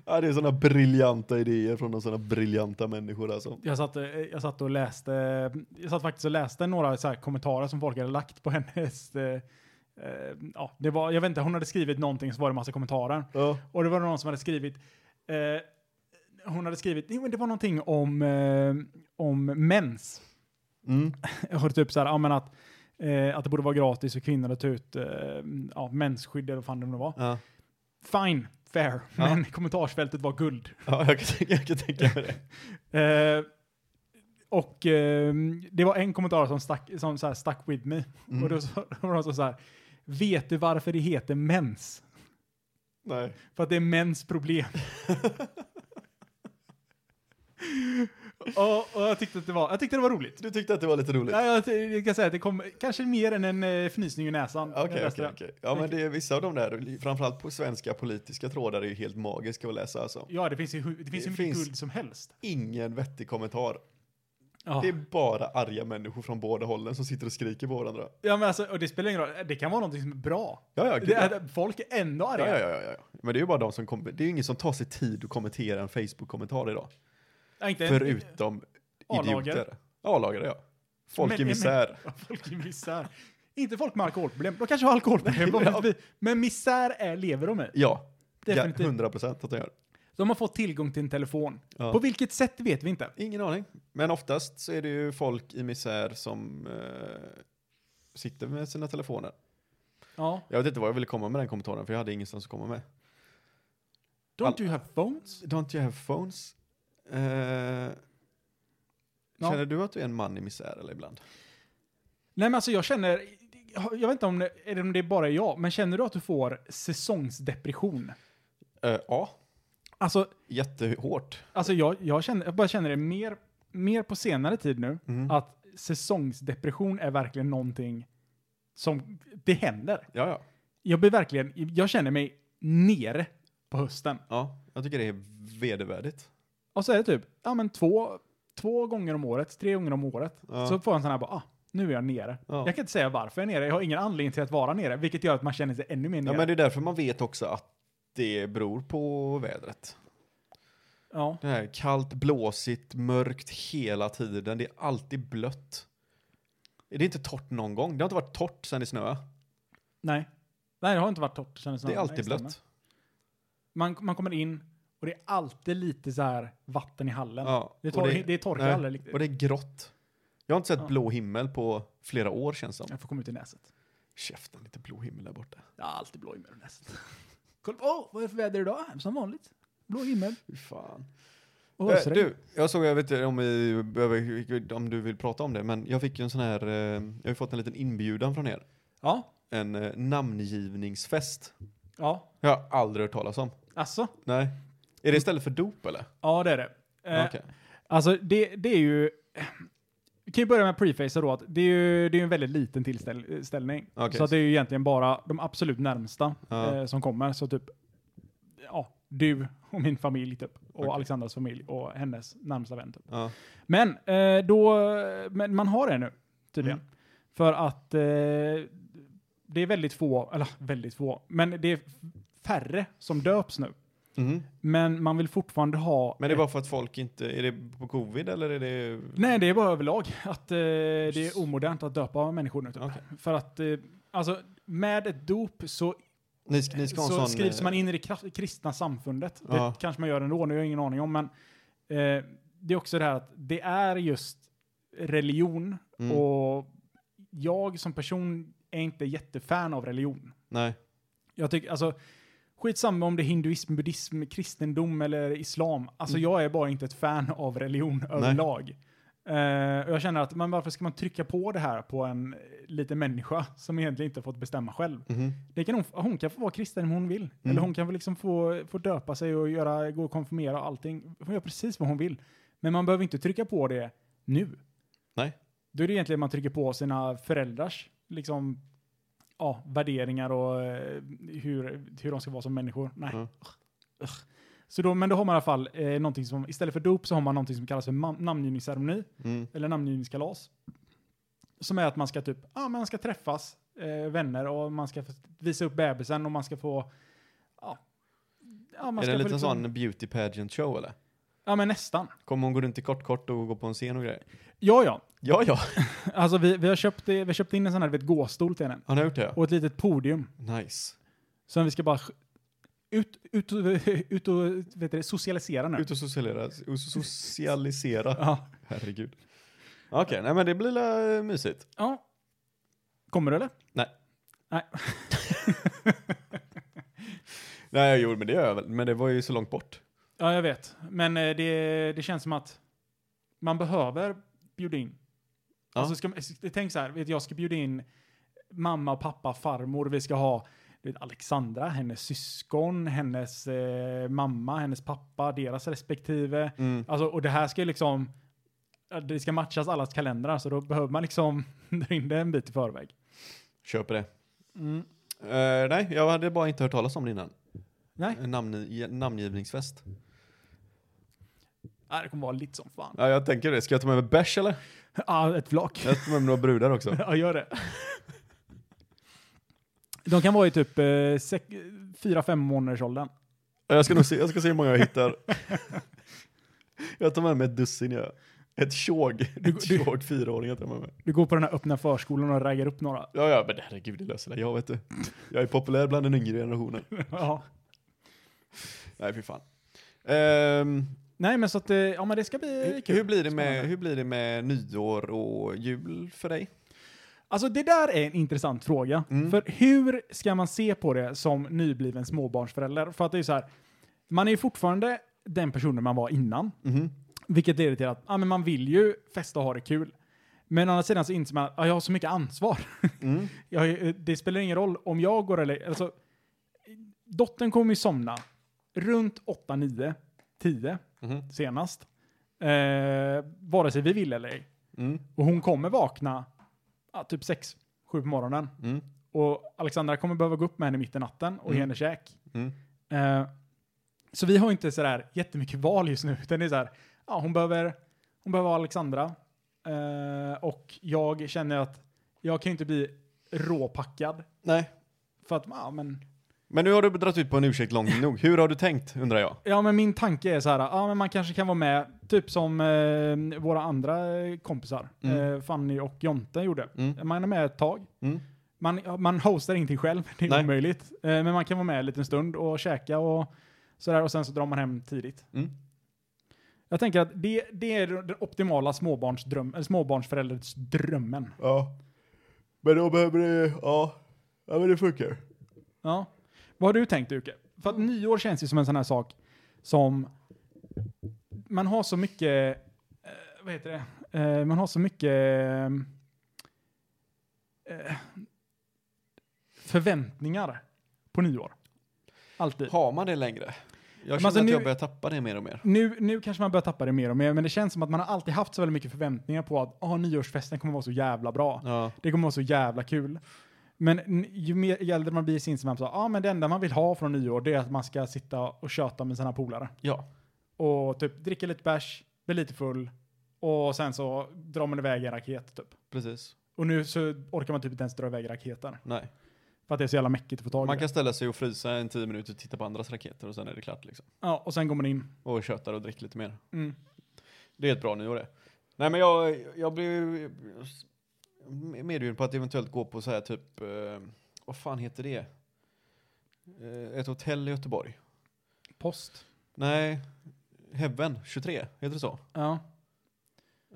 S3: ja. Det är sådana briljanta idéer från sådana briljanta människor alltså.
S1: jag, satt, eh, jag satt och läste, jag satt faktiskt och läste några så här kommentarer som folk hade lagt på hennes, eh, eh, ja, det var, jag vet inte, hon hade skrivit någonting så var det massa kommentarer.
S3: Ja.
S1: Och det var någon som hade skrivit, eh, hon hade skrivit, jo, men det var någonting om, eh, om mens.
S3: Mm.
S1: Jag hörde typ så här, ja men att, eh, att det borde vara gratis för kvinnor att ta ut eh, ja, mensskydd eller vad fan det nu var.
S3: Ja.
S1: Fine, fair,
S3: Ja.
S1: men kommentarsfältet var guld.
S3: ja, jag kan tänka, jag kan tänka mig det.
S1: Eh, och eh, det var en kommentar som stack, som så här stack with me.
S3: Mm.
S1: Och då så- då var det så här, vet du varför det heter mens?
S3: Nej.
S1: För att det är mäns problem. och, och jag tyckte att det var, jag tyckte det var roligt.
S3: Du tyckte att det var lite roligt?
S1: Ja, jag, ty- jag kan säga att det kom kanske mer än en eh, fnysning i näsan. Jag
S3: Okej,
S1: läste
S3: okej,
S1: det.
S3: okej. Ja, men det är vissa av de där, framförallt på svenska politiska trådar, är ju helt magiska att läsa alltså.
S1: Ja, det finns ju, hu- det finns ju
S3: Det
S1: hur
S3: finns-
S1: mycket guld som helst.
S3: Ingen vettig kommentar.
S1: Ja.
S3: Det är bara arga människor från båda hållen som sitter och skriker på varandra.
S1: ja, men alltså, och det spelar ingen roll. Det kan vara någonting som är bra.
S3: Ja, ja, gud,
S1: Det
S3: ja.
S1: är, folk är ändå
S3: Ja,
S1: arga.
S3: ja, ja, ja, ja. Men det är ju bara de som kommer. Det är ju ingen som tar sig tid att kommentera en Facebook-kommentar idag.
S1: Ja, inte-
S3: Förutom
S1: A-lager.
S3: idioter. A-lagare, ja. Folk
S1: Men-
S3: i
S1: men-
S3: misär.
S1: Ja, folk i misär. Inte folk med alkoholproblem. De kanske har alkoholproblem. vad vet vi? Men misär är, lever de i.
S3: Ja, ja,
S1: Definitivt.
S3: 100 procent att de gör.
S1: De har fått tillgång till en telefon.
S3: Ja.
S1: På vilket sätt vet vi inte.
S3: Ingen aning. Men oftast så är det ju folk i misär som eh, sitter med sina telefoner.
S1: Ja.
S3: Jag vet inte vad jag ville komma med den kommentaren, för jag hade ingenstans att komma med.
S1: Don't you have phones?
S3: Don't you have phones? Eh,
S1: Ja.
S3: Känner du att du är en man i misär eller ibland?
S1: Nej men alltså jag känner, jag vet inte om det, eller om det är bara jag, men känner du att du får säsongsdepression?
S3: Eh, ja,
S1: Alltså,
S3: jättehårt.
S1: alltså jag, jag, känner, jag bara känner det mer, mer på senare tid nu,
S3: Mm.
S1: att säsongsdepression är verkligen någonting som, det händer.
S3: Ja, ja.
S1: Jag blir verkligen, jag känner mig nere på hösten.
S3: ja jag tycker det är vedervärdigt.
S1: Och så är det typ, ja men två, två gånger om året, tre gånger om året,
S3: Ja.
S1: så får jag en sån här bara, ah, nu är jag nere.
S3: Ja.
S1: Jag kan inte säga varför jag är nere, jag har ingen anledning till att vara nere, vilket gör att man känner sig ännu mer nere.
S3: Ja, men det är därför man vet också att det beror på vädret.
S1: ja.
S3: Det här kallt, blåsigt, mörkt hela tiden. Det är alltid blött. Det är inte torrt någon gång. Det har inte varit torrt sen det snöade.
S1: Nej. Nej, det har inte varit torrt. kändes
S3: Det är
S1: som.
S3: alltid
S1: Nej, stämmer.
S3: blött.
S1: Man, man kommer in och det är alltid lite så här vatten i hallen.
S3: Ja,
S1: Det, är
S3: och
S1: torr,
S3: det-
S1: det, är torka
S3: nej,
S1: aldrig riktigt.
S3: Och det är grått. Jag har inte sett
S1: Ja.
S3: blå himmel på flera år känns som.
S1: Jag får komma ut i näset.
S3: Käften, lite blå himmel där borta.
S1: Jag har alltid blå himmel i näset. Kolla på, åh, vad är det för väder idag? Som vanligt. Blå himmel.
S3: Fy fan.
S1: Och
S3: Eh,
S1: ösregn.
S3: du, jag såg, jag vet inte om, vi behöver, om du vill prata om det, men jag fick ju en sån här, eh, jag har ju fått en liten inbjudan från er.
S1: Ja.
S3: En eh, namngivningsfest
S1: Ja,
S3: Jag har aldrig hört talas om.
S1: alltså.
S3: Nej. Är det istället för dop eller?
S1: Ja, det är det. Eh,
S3: Okej.
S1: Alltså, det, det är ju... Vi kan ju börja med prefacer då, att det är ju det är ju en väldigt liten tillställning.
S3: Okej.
S1: Så att det är ju egentligen bara de absolut närmsta
S3: Ja.
S1: eh, som kommer. Så typ, ja, du och min familj typ. Och
S3: Okej.
S1: Alexandras familj och hennes närmsta vän typ.
S3: Ja.
S1: Men, eh, då, men man har det nu, tydligen.
S3: Mm.
S1: För att eh, det är väldigt få, eller väldigt få, men det är färre som döps nu.
S3: Mhm.
S1: Men man vill fortfarande ha...
S3: Men det är bara för att folk inte, är det på covid eller är det?
S1: Nej, det är bara överlag att eh, det är omodernt att döpa människor nu. Typ.
S3: Okej.
S1: För att, eh, alltså, med ett dop så,
S3: Ni, sk- ni ska ha en
S1: så
S3: sån,
S1: skrivs
S3: eh,
S1: man in i det kra- kristna samfundet.
S3: Ja.
S1: Det kanske man gör ändå, nu har jag ingen aning om, men eh, det är också det här att det är just religion
S3: Mm.
S1: och jag som person är inte jättefan av religion.
S3: Nej.
S1: Jag tycker, alltså, skitsamma om det är hinduism, buddhism, kristendom eller islam. Alltså jag är bara inte ett fan av religion överlag. Eh, och jag känner att, men varför ska man trycka på det här på en eh, liten människa som egentligen inte fått bestämma själv?
S3: Mhm.
S1: Det kan hon, hon kan få vara kristen om hon vill. Eller hon kan väl liksom få, få döpa sig och göra, gå och konfirmera och allting. Hon gör precis vad hon vill. Men man behöver inte trycka på det nu.
S3: Nej.
S1: Då är det egentligen man trycker på sina föräldrars liksom, ja, värderingar och eh, hur, hur de ska vara som människor. Nej.
S3: Ja.
S1: Ugh. Så då, men då har man i alla fall eh, någonting som, istället för dop så har man någonting som kallas för mam- namngivningsceremoni
S3: Mm.
S1: eller namngivningskalas. Som är att man ska typ, ja man ska träffas, eh, vänner och man ska få visa upp bebisen och man ska få, ja. ja man
S3: Är det
S1: ska
S3: en
S1: få
S3: liten
S1: liksom-
S3: sån beauty pageant show eller?
S1: Ja men nästan.
S3: Kommer hon gå runt i kort kort och gå på en scen och grejer?
S1: Ja ja,
S3: Ja, ja.
S1: alltså vi, vi, har, köpt, eh, vi har köpt in en sån här du vet, gåstol till henne.
S3: Har ni gjort det?
S1: Och ett litet podium.
S3: Nice.
S1: Som vi ska bara sk- ut, ut, och- ut och vet du, det, socialisera nu.
S3: Ut och socialisera. och socialisera.
S1: Ja.
S3: Herregud. Okej, nej men det blir la mysigt.
S1: ja. Kommer du eller?
S3: Nej, jo, men det gör jag väl. Men det var ju så långt bort.
S1: Ja jag vet. Men eh, det, det känns som att man behöver bjuda in.
S3: Ja.
S1: Alltså ska, man- tänk så här, vet, jag ska bjuda in mamma och pappa, farmor, vi ska ha du vet, Alexandra, hennes syskon, hennes eh, mamma, hennes pappa, deras respektive.
S3: Mm.
S1: Alltså, och det här ska ju liksom, ja, det ska matchas allas kalendrar, så då behöver man liksom dra in det en bit i förväg.
S3: Köper det. Eh, nej, jag hade bara inte hört talas om det innan.
S1: Nej,
S3: En Namn, namngivningsfest.
S1: ja, det kommer vara lite som fan.
S3: Ja, jag tänker det. Ska jag ta med mig bärs eller?
S1: Ja, ett flak.
S3: Jag tar med mig några brudar också.
S1: Ja, gör det. De kan vara i typ 4-5 månaders åldern.
S3: Ja, Jag ska nog se, jag ska se hur många jag hittar. Jag tar med mig ett dussin jag. Ett tjog.
S1: Du-
S3: Ett
S1: du-
S3: tjog fyraåring jag tar med mig.
S1: Du går på den här öppna förskolan och raggar upp några.
S3: Ja, ja, men herregud, det löser det. Jag vet du. Jag är populär bland den yngre generationen.
S1: Ja.
S3: Nej, fy fan. Ehm,
S1: Nej, men så att eh, ja, men det ska bli
S3: hur,
S1: kul.
S3: hur, blir det med,
S1: Spännande.
S3: hur blir det med nyår och jul för dig?
S1: Alltså det där är en intressant fråga.
S3: Mm.
S1: För hur ska man se på det som nybliven småbarnsförälder? För att det är ju så här, man är ju fortfarande den personen man var innan.
S3: Mhm.
S1: Vilket leder till att ja, men man vill ju festa och ha det kul. Men å andra sidan så inser man att ja, jag har så mycket ansvar.
S3: Mm.
S1: Jag, eh, det spelar ingen roll om jag går eller... Alltså, dottern kommer ju somna runt 8, 9, 10
S3: Mhm.
S1: senast. Eh, vare sig vi vill eller ej.
S3: Mm.
S1: Och hon kommer vakna ja, typ 6, 7 på morgonen.
S3: Mm.
S1: Och Alexandra kommer behöva gå upp med henne mitt i natten och ge
S3: Mm.
S1: henne käk.
S3: Mm.
S1: Eh, så vi har inte sådär jättemycket val just nu. Utan det är såhär, ja, hon, behöver, hon behöver ha Alexandra. Eh, och jag känner att jag kan ju inte bli råpackad.
S3: Nej,
S1: För att, ja men,
S3: men nu har du dragit ut på en ursäkt långt nog. Hur har du tänkt, undrar jag?
S1: ja, men min tanke är så här, ja men man kanske kan vara med, typ som eh, våra andra eh, kompisar,
S3: Mm.
S1: eh, Fanny och Jonte gjorde.
S3: Mm.
S1: Man är med ett tag.
S3: Mm.
S1: Man, man hostar ingenting själv, det är
S3: Nej.
S1: omöjligt. Eh, men man kan vara med en liten stund och käka och sådär och sen så drar man hem tidigt.
S3: Mm.
S1: Jag tänker att det, det är den optimala småbarnsdröm, eller småbarnsföräldersdrömmen.
S3: Ja. Men då behöver det, ja. Ja men det funkar.
S1: Ja. Vad har du tänkt Uke? För att nyår känns ju som en sån här sak som man har så mycket, eh, vad heter det, eh, man har så mycket eh, förväntningar på nyår. Alltid.
S3: Har man det längre? Jag
S1: Men
S3: känner
S1: alltså
S3: att
S1: nu-
S3: jag börjar tappa det mer och mer.
S1: Nu, nu kanske man börjar tappa det mer och mer, men det känns som att man har alltid haft så väldigt mycket förväntningar på att ah, nyårsfesten kommer vara så jävla bra.
S3: Ja.
S1: Det kommer vara så jävla kul. Men n- ju mer ju äldre man blir sinsemellan så, ja ah, men det enda man vill ha från nyår det är att man ska sitta och köta med sina polare.
S3: ja.
S1: Och typ dricka lite bärs, bli lite full och sen så drar man iväg en raket typ.
S3: Precis.
S1: Och nu så orkar man typ inte ens dra iväg raketer.
S3: Nej.
S1: För att det är så jävla mäckigt att få tag i
S3: Man
S1: det.
S3: kan ställa sig och frysa en tio minuter och titta på andras raketer och sen är det klart liksom.
S1: Ja, och sen går man in.
S3: Och tjötar och dricker lite mer.
S1: Mm.
S3: Det är ett bra nyår det. Nej men jag, jag blev medveten på att eventuellt gå på så här typ, eh, vad fan heter det? Eh, ett hotell i Göteborg.
S1: Post.
S3: Nej, Heaven 23, heter det så?
S1: Ja.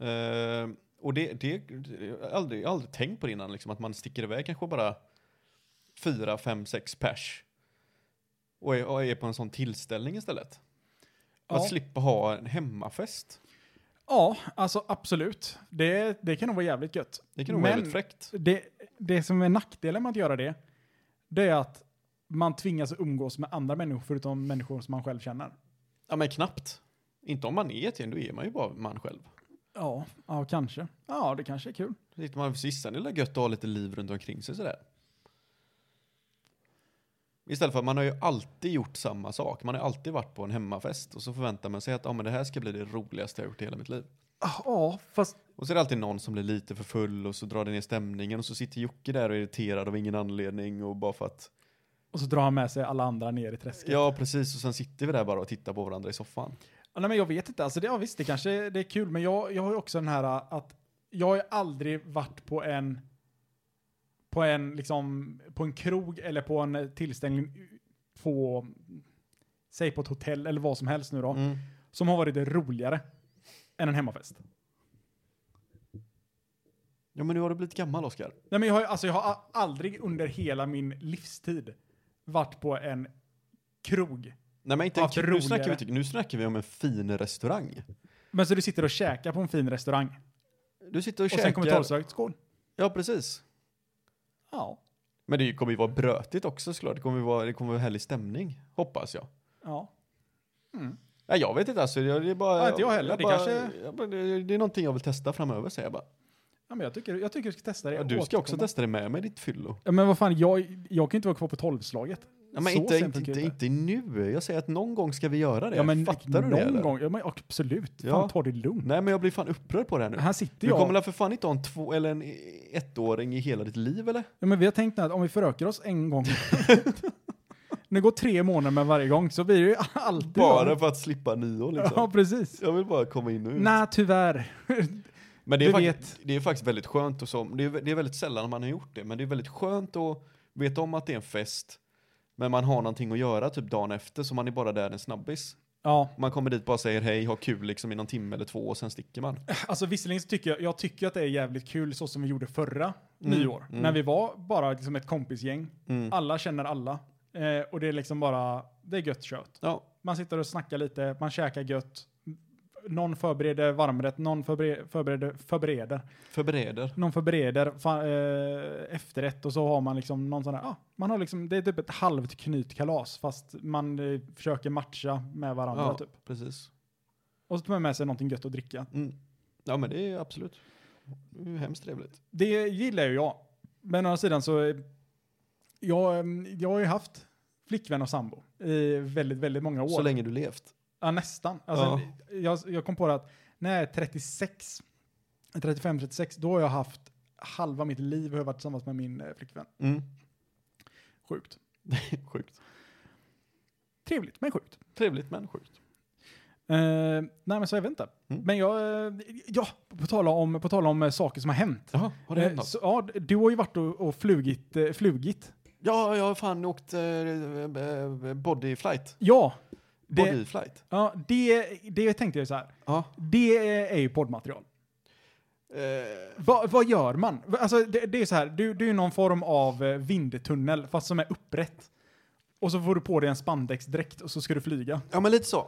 S3: Eh, och det, det, jag har aldrig, jag har aldrig tänkt på det innan, liksom, att man sticker iväg kanske bara fyra, fem, sex pers. Och är, och är på en sån tillställning istället.
S1: Ja.
S3: Att slippa ha en hemmafest.
S1: Ja, alltså absolut. Det, det kan nog vara jävligt gött.
S3: Det kan nog vara
S1: Men-
S3: väldigt fräckt.
S1: Det, det som är nackdelen med att göra det, det är att man tvingas umgås med andra människor förutom människor som man själv känner.
S3: Ja men knappt. Inte om man är ett gäng, då är man ju bara man själv.
S1: Ja, ja kanske. Ja, det kanske är kul.
S3: Då sitter man sista det är gött att ha lite liv runt omkring sig sådär. Istället för att man har ju alltid gjort samma sak. Man har alltid varit på en hemmafest och så förväntar man sig att ah, men det här ska bli det roligaste jag gjort i hela mitt liv.
S1: Ah, Ja, fast...
S3: Och så är det alltid någon som blir lite för full och så drar det ner stämningen och så sitter Jocke där och är irriterad av ingen anledning och bara för att
S1: Och så drar han med sig alla andra ner i träsket.
S3: ja precis och sen sitter vi där bara och tittar på varandra i soffan.
S1: Ja, Nej men jag vet inte, alltså det, ja, visst det kanske det är kul, men jag, jag har ju också den här äh, att jag har ju aldrig varit på en på en liksom på en krog eller på en eh, tillställning på säg på ett hotell eller vad som helst nu då
S3: Mm.
S1: som har varit roligare än en hemmafest.
S3: Ja men nu har du blivit gammal Oskar.
S1: Nej men jag har ju- alltså jag har a- aldrig under hela min livstid varit på en krog.
S3: Nej men inte en
S1: Haft
S3: kul, nu, snackar vi,
S1: roligare.
S3: typ- nu snackar vi om en fin restaurang.
S1: Men så du sitter och käkar på en fin restaurang
S3: Du sitter och,
S1: och sen kommer
S3: käkar.
S1: tolvslaget, skål.
S3: Ja precis.
S1: Ja.
S3: Men det kommer ju vara brötigt också såklart. Det kommer ju vara, det kommer vara härlig stämning. Hoppas jag.
S1: Ja.
S3: Nej, jag vet inte alltså. Jag, det är bara,
S1: Ja, inte jag heller. Det
S3: bara,
S1: kanske-
S3: jag bara, det, det är någonting jag vill testa framöver säger jag bara.
S1: Ja, men jag, tycker, jag tycker du ska testa det.
S3: Ja,
S1: och
S3: du ska också
S1: återkomma.
S3: testa det med mig ditt fyllo.
S1: Ja, men vad fan, jag, jag kan inte vara kvar på tolvslaget.
S3: Ja, men
S1: Så
S3: inte,
S1: sent
S3: inte,
S1: tycker
S3: inte,
S1: jag
S3: inte nu. Jag säger att någon gång ska vi göra det.
S1: Ja, men
S3: Fattar du
S1: någon
S3: det eller?
S1: gång, ja, men absolut.
S3: Ja.
S1: Fan, ta det lugnt.
S3: Nej men jag blir fan upprörd på det här nu.
S1: Här sitter
S3: Du
S1: jag.
S3: kommer väl för fan inte ha en två eller en ettåring i hela ditt liv eller?
S1: Ja, men vi har tänkt nu att om vi förökar oss en gång. nu går tre månader med varje gång så blir det ju alltid
S3: Bara
S1: jag.
S3: för att slippa nyår
S1: Ja,
S3: liksom. Mm.
S1: precis.
S3: Jag vill bara komma in och ut.
S1: Nej, tyvärr.
S3: Men det är,
S1: Du
S3: faktiskt, det är faktiskt väldigt skönt och så. Det är, det är väldigt sällan man har gjort det, men det är väldigt skönt att veta om att det är en fest. Men man har någonting att göra typ dagen efter, så man är bara där en snabbis.
S1: Ja,
S3: Man kommer dit bara säger hej, har kul liksom i någon timme eller två och sen sticker man.
S1: alltså visserligen så tycker jag, jag tycker att det är jävligt kul så som vi gjorde förra nyår. När vi var bara liksom ett kompisgäng.
S3: Mm.
S1: Alla känner alla. Eh, och det är liksom bara, det är gött kött.
S3: Ja,
S1: Man sitter och snackar lite, man käkar gött. Någon förbereder varmrätt, någon förbereder, förbereder, förbereder.
S3: förbereder.
S1: Någon förbereder fa, eh, efterrätt och så har man liksom någon sån här, ah, man har liksom, det är typ ett halvt knytkalas fast man eh, försöker matcha med varandra
S3: Ja,
S1: typ.
S3: precis.
S1: Och så tar man med sig någonting gött att dricka.
S3: Mm. Ja, men det är absolut. Det är hemskt trevligt.
S1: Det gillar ju jag. Men å andra sidan så, eh, jag, eh, jag har ju haft flickvän och sambo i väldigt, väldigt många år.
S3: Så länge du levt.
S1: Ja, nästan. Alltså, jag, jag kom på det att när jag är 36, 35-36, då har jag haft halva mitt liv har jag varit tillsammans med min eh, flickvän.
S3: Mm.
S1: Sjukt.
S3: sjukt.
S1: Trevligt, men sjukt.
S3: Trevligt men sjukt.
S1: Eh, nej, men så jag vet inte.
S3: Mm.
S1: Men jag, eh, ja, på tal om, på tal om eh, saker som har hänt.
S3: Jaha, har det hänt
S1: Eh,
S3: något?
S1: så, ja, du har ju varit och, och flugit, eh, flugit.
S3: Ja, jag har fan åkt eh, eh, body flight.
S1: Ja,
S3: Body
S1: det,
S3: flight.
S1: ja, det, det tänkte jag ju så här.
S3: Ja.
S1: Det är ju poddmaterial.
S3: Eh,
S1: Vad- vad gör man? Va- Alltså, det, det är så här, du, du är någon form av eh, vindtunnel fast som är upprätt. Och så får du på dig en spandexdräkt och så ska du flyga.
S3: Ja, men lite så.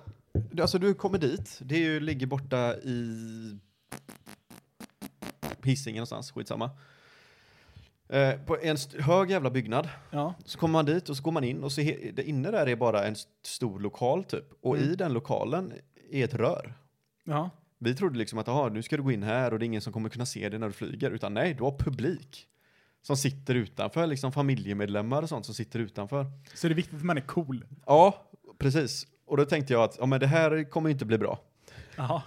S3: Du- Alltså du kommer dit, det är ju, ligger borta i Hisingen någonstans, skitsamma. Eh, på en st- hög jävla byggnad.
S1: Ja.
S3: Så kommer man dit och så går man in och så he- det inne där är bara en st- stor lokal typ. Och
S1: Mm.
S3: i den lokalen är ett rör.
S1: Ja.
S3: Vi trodde liksom att aha, nu ska du gå in här och det är ingen som kommer kunna se dig när du flyger. Utan nej, du har publik. Som sitter utanför, liksom familjemedlemmar och sånt som sitter utanför.
S1: Så det är viktigt att man är cool.
S3: Ja, precis. Och då tänkte jag att ja, men det här kommer ju inte bli bra.
S1: Jaha.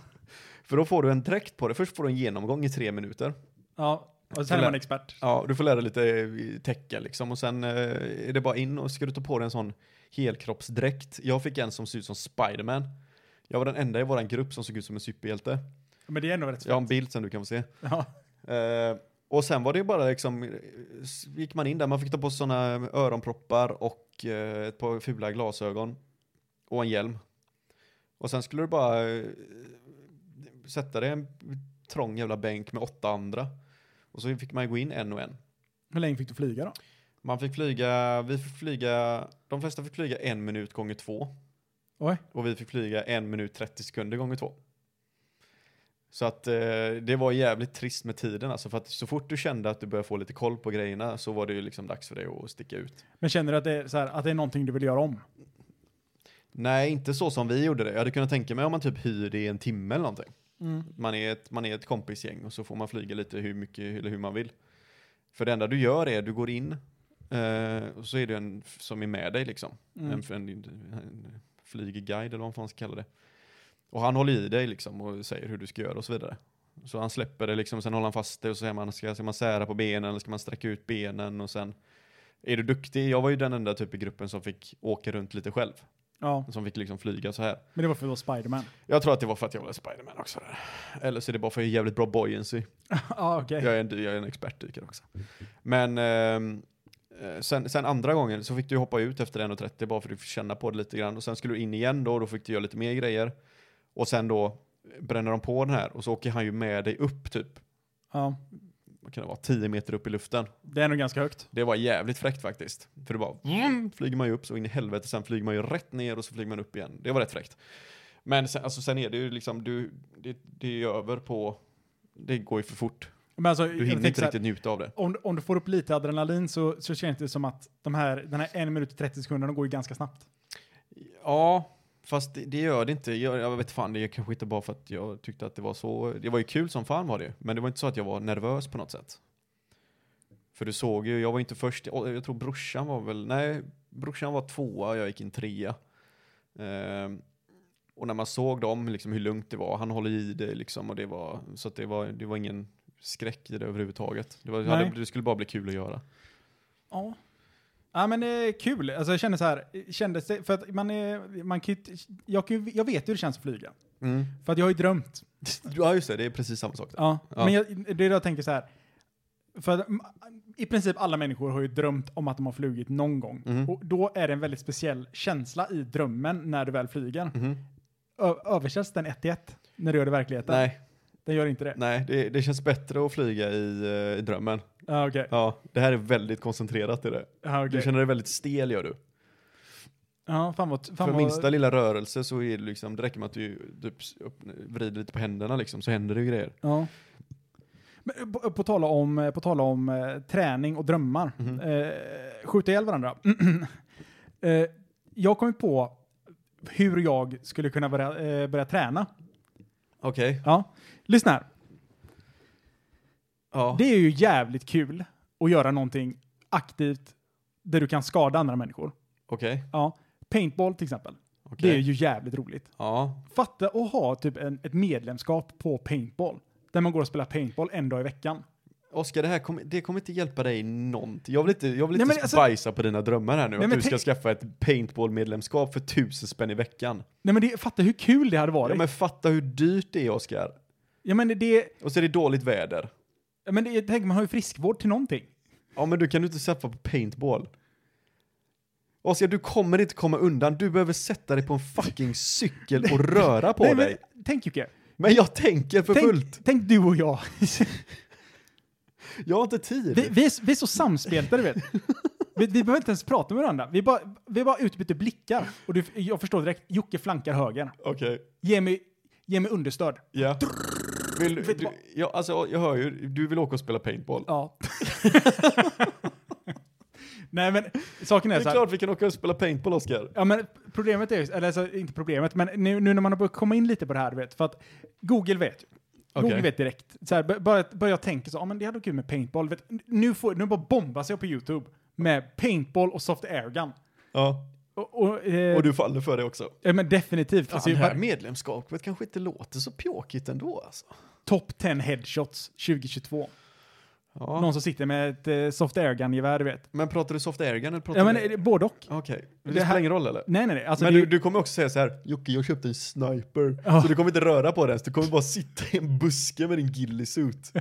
S3: För då får du en dräkt på dig. Först får du en genomgång i tre minuter.
S1: Ja. Och sen är man expert.
S3: Ja, du får lära dig lite eh, tecken liksom. Och sen eh, är det bara in och ska du ta på dig en sån helkroppsdräkt. Jag fick en som ser ut som Spiderman. Jag var den enda i våran grupp som såg ut som en superhjälte.
S1: Men det är ändå rätt
S3: Jag har en
S1: svårt.
S3: bild sen du kan få se.
S1: Ja.
S3: Eh, och sen var det ju bara liksom, eh, s- gick man in där, man fick ta på sig sådana öronproppar och eh, ett par fula glasögon och en hjälm. Och sen skulle du bara eh, sätta dig i en trång jävla bänk med åtta andra. Och så fick man gå in en och en.
S1: Hur länge fick du flyga då?
S3: Man fick flyga, vi fick flyga, de flesta fick flyga en minut gånger två.
S1: Oj.
S3: Och vi fick flyga en minut 30 sekunder gånger två. Så att eh, det var jävligt trist med tiden alltså, för att så fort du kände att du började få lite koll på grejerna så var det ju liksom dags för dig att sticka ut.
S1: Men känner du att det är, så här, att det är någonting du vill göra om?
S3: Nej, inte så som vi gjorde det. Jag hade kunnat tänka mig om man typ hyr det i en timme eller någonting. Man är ett, man är ett kompisgäng och så får man flyga lite hur mycket eller hur man vill. För det enda du gör är du går in eh, och så är det en f- som är med dig liksom.
S1: Mm.
S3: En, en, en flygguide eller vad man ska kalla det. Och han håller i dig liksom och säger hur du ska göra och så vidare. Så han släpper det liksom, sen håller han fast dig och så säger man, ska, ska man sära på benen eller ska man sträcka ut benen och sen är du duktig? Jag var ju den enda typ i gruppen som fick åka runt lite själv.
S1: Ja,
S3: Som fick liksom flyga så här.
S1: men det var för att vara Spiderman.
S3: Jag tror att det var för att jag var Spiderman också. Där. Eller så är det bara för att jag är jävligt bra buoyancy.
S1: ja, okej.
S3: Jag är en, jag är en expertdykare också. Men ehm, eh, sen, sen andra gången så fick du hoppa ut efter 1.30 bara för att du fick känna på det lite grann. Och sen skulle du in igen då och då fick du göra lite mer grejer. Och sen då bränner de på den här och så åker han ju med dig upp typ,
S1: Ja.
S3: vad kan det vara, 10 meter upp i luften.
S1: Det är nog ganska högt.
S3: Det var jävligt fräckt faktiskt. För det bara vroom, flyger man ju upp så in i helvete, sen flyger man ju rätt ner och så flyger man upp igen. Det var rätt fräckt. Men sen, alltså, sen är det ju liksom, du, det, det är ju över på, det går ju för fort.
S1: Men alltså,
S3: Du hinner inte riktigt njuta av det.
S1: om, om du får upp lite adrenalin så, så känns det som att de här, den här en minut och 30 sekunderna går ju ganska snabbt.
S3: Ja, fast det, det gör det inte. Jag, jag vet fan, det är kanske inte bara för att jag tyckte att det var så. Det var ju kul som fan var det men det var inte så att jag var nervös på något sätt. För du såg ju, jag var inte först, jag, jag tror brorsan var väl, nej, brorsan var tvåa, jag gick in trea. Ehm, och när man såg dem, liksom hur lugnt det var, han håller i dig liksom och det var, så att det var, det var ingen skräck i det överhuvudtaget. Det, var,
S1: Nej.
S3: hade, det skulle bara bli kul att göra.
S1: Ja. Ja men eh, kul, alltså jag känner så här, eh, kändes det, för att man är, man kan ju, inte- jag, kan ju, jag vet hur det känns att flyga. För att jag har ju drömt.
S3: Ja just det, det är precis samma sak. Där.
S1: Ja.
S3: Ja.
S1: Men jag, det är då jag tänker så här, för att, mm, i princip alla människor har ju drömt om att de har flugit någon gång.
S3: Mm.
S1: Och då är det en väldigt speciell känsla i drömmen när du väl flyger.
S3: Mhm.
S1: Ö- översätts den 1 till 1 när du gör det i verkligheten?
S3: Nej,
S1: Den gör inte det?
S3: Nej, det, det känns bättre att flyga i, eh, i drömmen.
S1: Ja, Ah, okej.
S3: Ja, det här är väldigt koncentrerat i det.
S1: Ja,
S3: Du
S1: okej.
S3: känner dig väldigt stel gör du.
S1: Ja, fan vad... Fan
S3: För
S1: vad...
S3: minsta lilla rörelse så är det liksom, det räcker med att du typ s- upp, vrider lite på händerna liksom så händer det ju grejer.
S1: Ja. Men eh, på, på tala om, på tala om eh, träning och drömmar.
S3: Mhm.
S1: Eh, skjuta ihjäl varandra. eh, jag kom ju på hur jag skulle kunna börja, eh, börja träna.
S3: Okej.
S1: Ja. Lyssna här.
S3: Ja.
S1: Det är ju jävligt kul att göra någonting aktivt där du kan skada andra människor.
S3: Okej.
S1: Ja. Paintball till exempel.
S3: Okej.
S1: Det är ju jävligt roligt.
S3: Ja.
S1: Fatta att ha typ en, ett medlemskap på paintball. Där man går och spelar paintball en dag i veckan.
S3: Oskar, det här kommer, det kommer inte hjälpa dig någonting. Jag vill inte, jag vill
S1: Nej,
S3: inte
S1: men alltså-
S3: spicea på dina drömmar här nu.
S1: Nej,
S3: att
S1: men
S3: du ska
S1: tänk-
S3: skaffa ett paintball-medlemskap för tusen spänn i veckan.
S1: Nej men det, fatta hur kul det hade
S3: Ja,
S1: varit.
S3: men fatta hur dyrt det är Oskar.
S1: Ja men det,
S3: Och så är det dåligt väder.
S1: ja, men det tänk, man har ju friskvård till någonting.
S3: Ja men du kan du inte satsa på paintball. Oskar, du kommer inte komma undan. Du behöver sätta dig på en fucking cykel och röra på
S1: Nej,
S3: dig.
S1: Men, tänk Jocke.
S3: Men jag tänker för fullt.
S1: Tänk, tänk du och jag.
S3: Jag har inte tid.
S1: Vi, vi, är, s- vi är så samspelta du vet. Vi, vi behöver inte ens prata med varandra. Vi bara, vi bara utbyter blickar. Och du, jag förstår direkt, Jocke flankar höger.
S3: Okej,
S1: Ge mig, ge mig understöd.
S3: ja. Vill, du, ja, alltså, jag hör ju, du vill åka och spela paintball.
S1: Ja. Nej men saken
S3: Det
S1: är
S3: är
S1: så här,
S3: klart vi kan åka och spela paintball, Oskar.
S1: Ja men problemet är ju, eller alltså, inte problemet, men nu, nu när man har börjat komma in lite på det här, du vet, för att Google vet.
S3: Okej.
S1: Google vet direkt. Så här, bör- bara, bara jag tänker så, ja men det hade varit kul med paintball. Vet, nu, får, nu bara bombas jag på YouTube med paintball och soft airgun.
S3: Ja.
S1: Och, och, eh,
S3: Och du faller för det också.
S1: ja, men definitivt. Alltså,
S3: Fan, det här
S1: bara,
S3: medlemskapet kanske inte låter så pjåkigt ändå alltså.
S1: top 10 headshots 2022.
S3: Ja.
S1: Någon som sitter med ett eh, soft airgun-gevär, du vet.
S3: Men pratar du soft airgun eller pratar
S1: Ja men
S3: du...
S1: eh, både och.
S3: Okej. Det,
S1: Det
S3: spelar
S1: här-
S3: ingen roll eller?
S1: Nej nej nej. Alltså,
S3: men
S1: det-
S3: du, du kommer också säga så här, Jocke jag köpte en sniper.
S1: Ja.
S3: Så du kommer inte röra på den, så du kommer bara sitta i en buske med din gillisuit.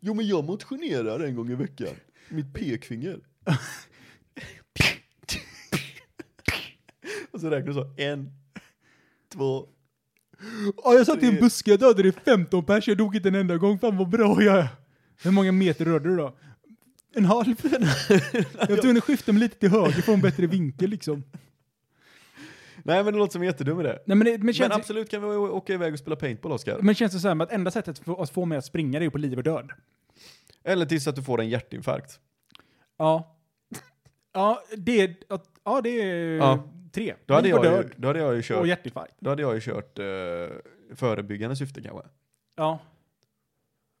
S3: jo men jag motionerar en gång i veckan. Mitt pekfinger. Och så räknar du så, en, två.
S1: Ja, jag satt i en
S3: Det-
S1: buske, jag dödade 15 pers, jag dog inte en enda gång. Fan vad bra jag är. Hur många meter rörde du då? En halv? jag tog en skifta mig lite till höger för en bättre vinkel liksom.
S3: Nej men det låter som en jättedum idé.
S1: Nej men det men känns,
S3: Men
S1: men
S3: absolut kan vi å- åka iväg och spela paintball Oskar.
S1: men känns det så här med att enda sättet för att få mig att springa det är ju på liv och död.
S3: Eller tills att du får en hjärtinfarkt.
S1: Ja. Ja, det är, att- ja, det är
S3: Ja.
S1: tre.
S3: Då hade,
S1: liv och
S3: jag
S1: död
S3: ju, då hade jag ju
S1: och
S3: kört,
S1: hjärtinfarkt.
S3: då hade jag ju kört eh, förebyggande syfte kanske.
S1: Ja.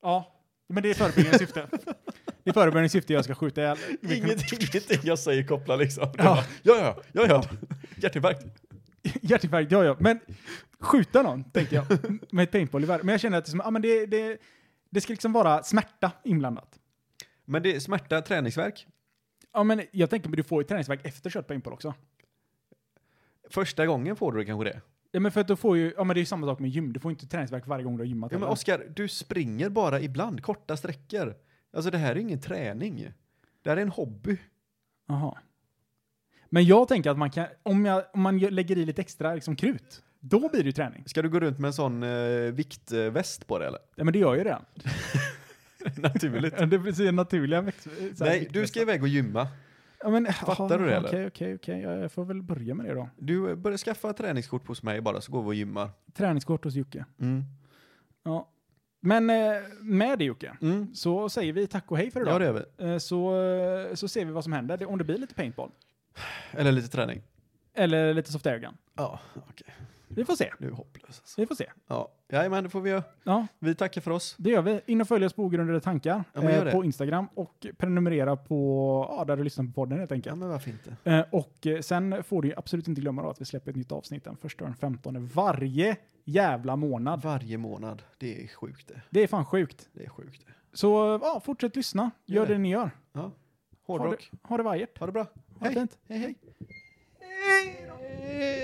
S1: Ja. Men det är förebyggande syfte. Det är förebyggande syfte jag ska skjuta ihjäl.
S3: Inget, ingenting jag säger kopplar liksom.
S1: Ja.
S3: Ja, ja, ja, ja. Hjärtinfarkt.
S1: Hjärtinfarkt, ja ja. Men skjuta någon, tänker jag. Med ett paintballgevär. Men jag känner att det, är som, ja, men det, det, det ska liksom vara smärta inblandat.
S3: Men det är smärta, träningsverk.
S1: Ja, men jag tänker att du får ju träningsvärk efter kört paintball också.
S3: Första gången får du det kanske det.
S1: Ja, men för att du får ju, ja men det är ju samma sak med gym. Du får inte träningsvärk varje gång du har gymmat.
S3: Ja, men
S1: eller?
S3: Oskar, du springer bara ibland, korta sträckor. Alltså det här är ingen träning. Det här är en hobby.
S1: Jaha. Men jag tänker att man kan, om, jag, om man gör- lägger i lite extra liksom, krut, då blir det ju träning.
S3: Ska du gå runt med en sån eh, viktväst på dig eller?
S1: Ja, men det gör jag ju redan.
S3: Naturligt.
S1: Det blir så naturliga växt, så här
S3: Nej, du
S1: viktvästar.
S3: ska iväg och gymma.
S1: Ja, men,
S3: Fattar du det, eller?
S1: Okej, okej, okej. Ja, Jag får väl börja med det då.
S3: Du eh, börjar skaffa träningskort hos mig bara så går vi och gymmar.
S1: Träningskort hos Jocke.
S3: Mm.
S1: Ja. Men eh, med det Jocke,
S3: Mm.
S1: så säger vi tack och hej för
S3: Ja,
S1: idag.
S3: det är vi.
S1: Eh, Så, eh, så ser vi vad som händer, Det- om det blir lite paintball.
S3: Eller lite träning.
S1: Eller lite soft airgun.
S3: Ja, okej.
S1: Vi får se.
S3: Du är hopplös alltså.
S1: Vi får se.
S3: Ja, men det får vi göra.
S1: Ja,
S3: Vi tackar för oss.
S1: det gör vi. In och följ oss på ogrundade tankar
S3: Ja, men gör
S1: eh,
S3: det.
S1: på Instagram och prenumerera på, ja, där du lyssnar på podden helt enkelt.
S3: men varför inte?
S1: Eh, Och eh, sen får du ju absolut inte glömma då att vi släpper ett nytt avsnitt den första och den 15 varje jävla månad.
S3: Varje månad. Det är sjukt det.
S1: Det är fan sjukt.
S3: Det är sjukt det.
S1: Så eh, ja, fortsätt lyssna.
S3: Gör
S1: Gör
S3: det.
S1: det ni gör.
S3: Ja.
S1: Ha det,
S3: Hårdrock.
S1: ha det vajert.
S3: Ha det bra.
S1: Ha det fint.
S3: Hej, hej. hej.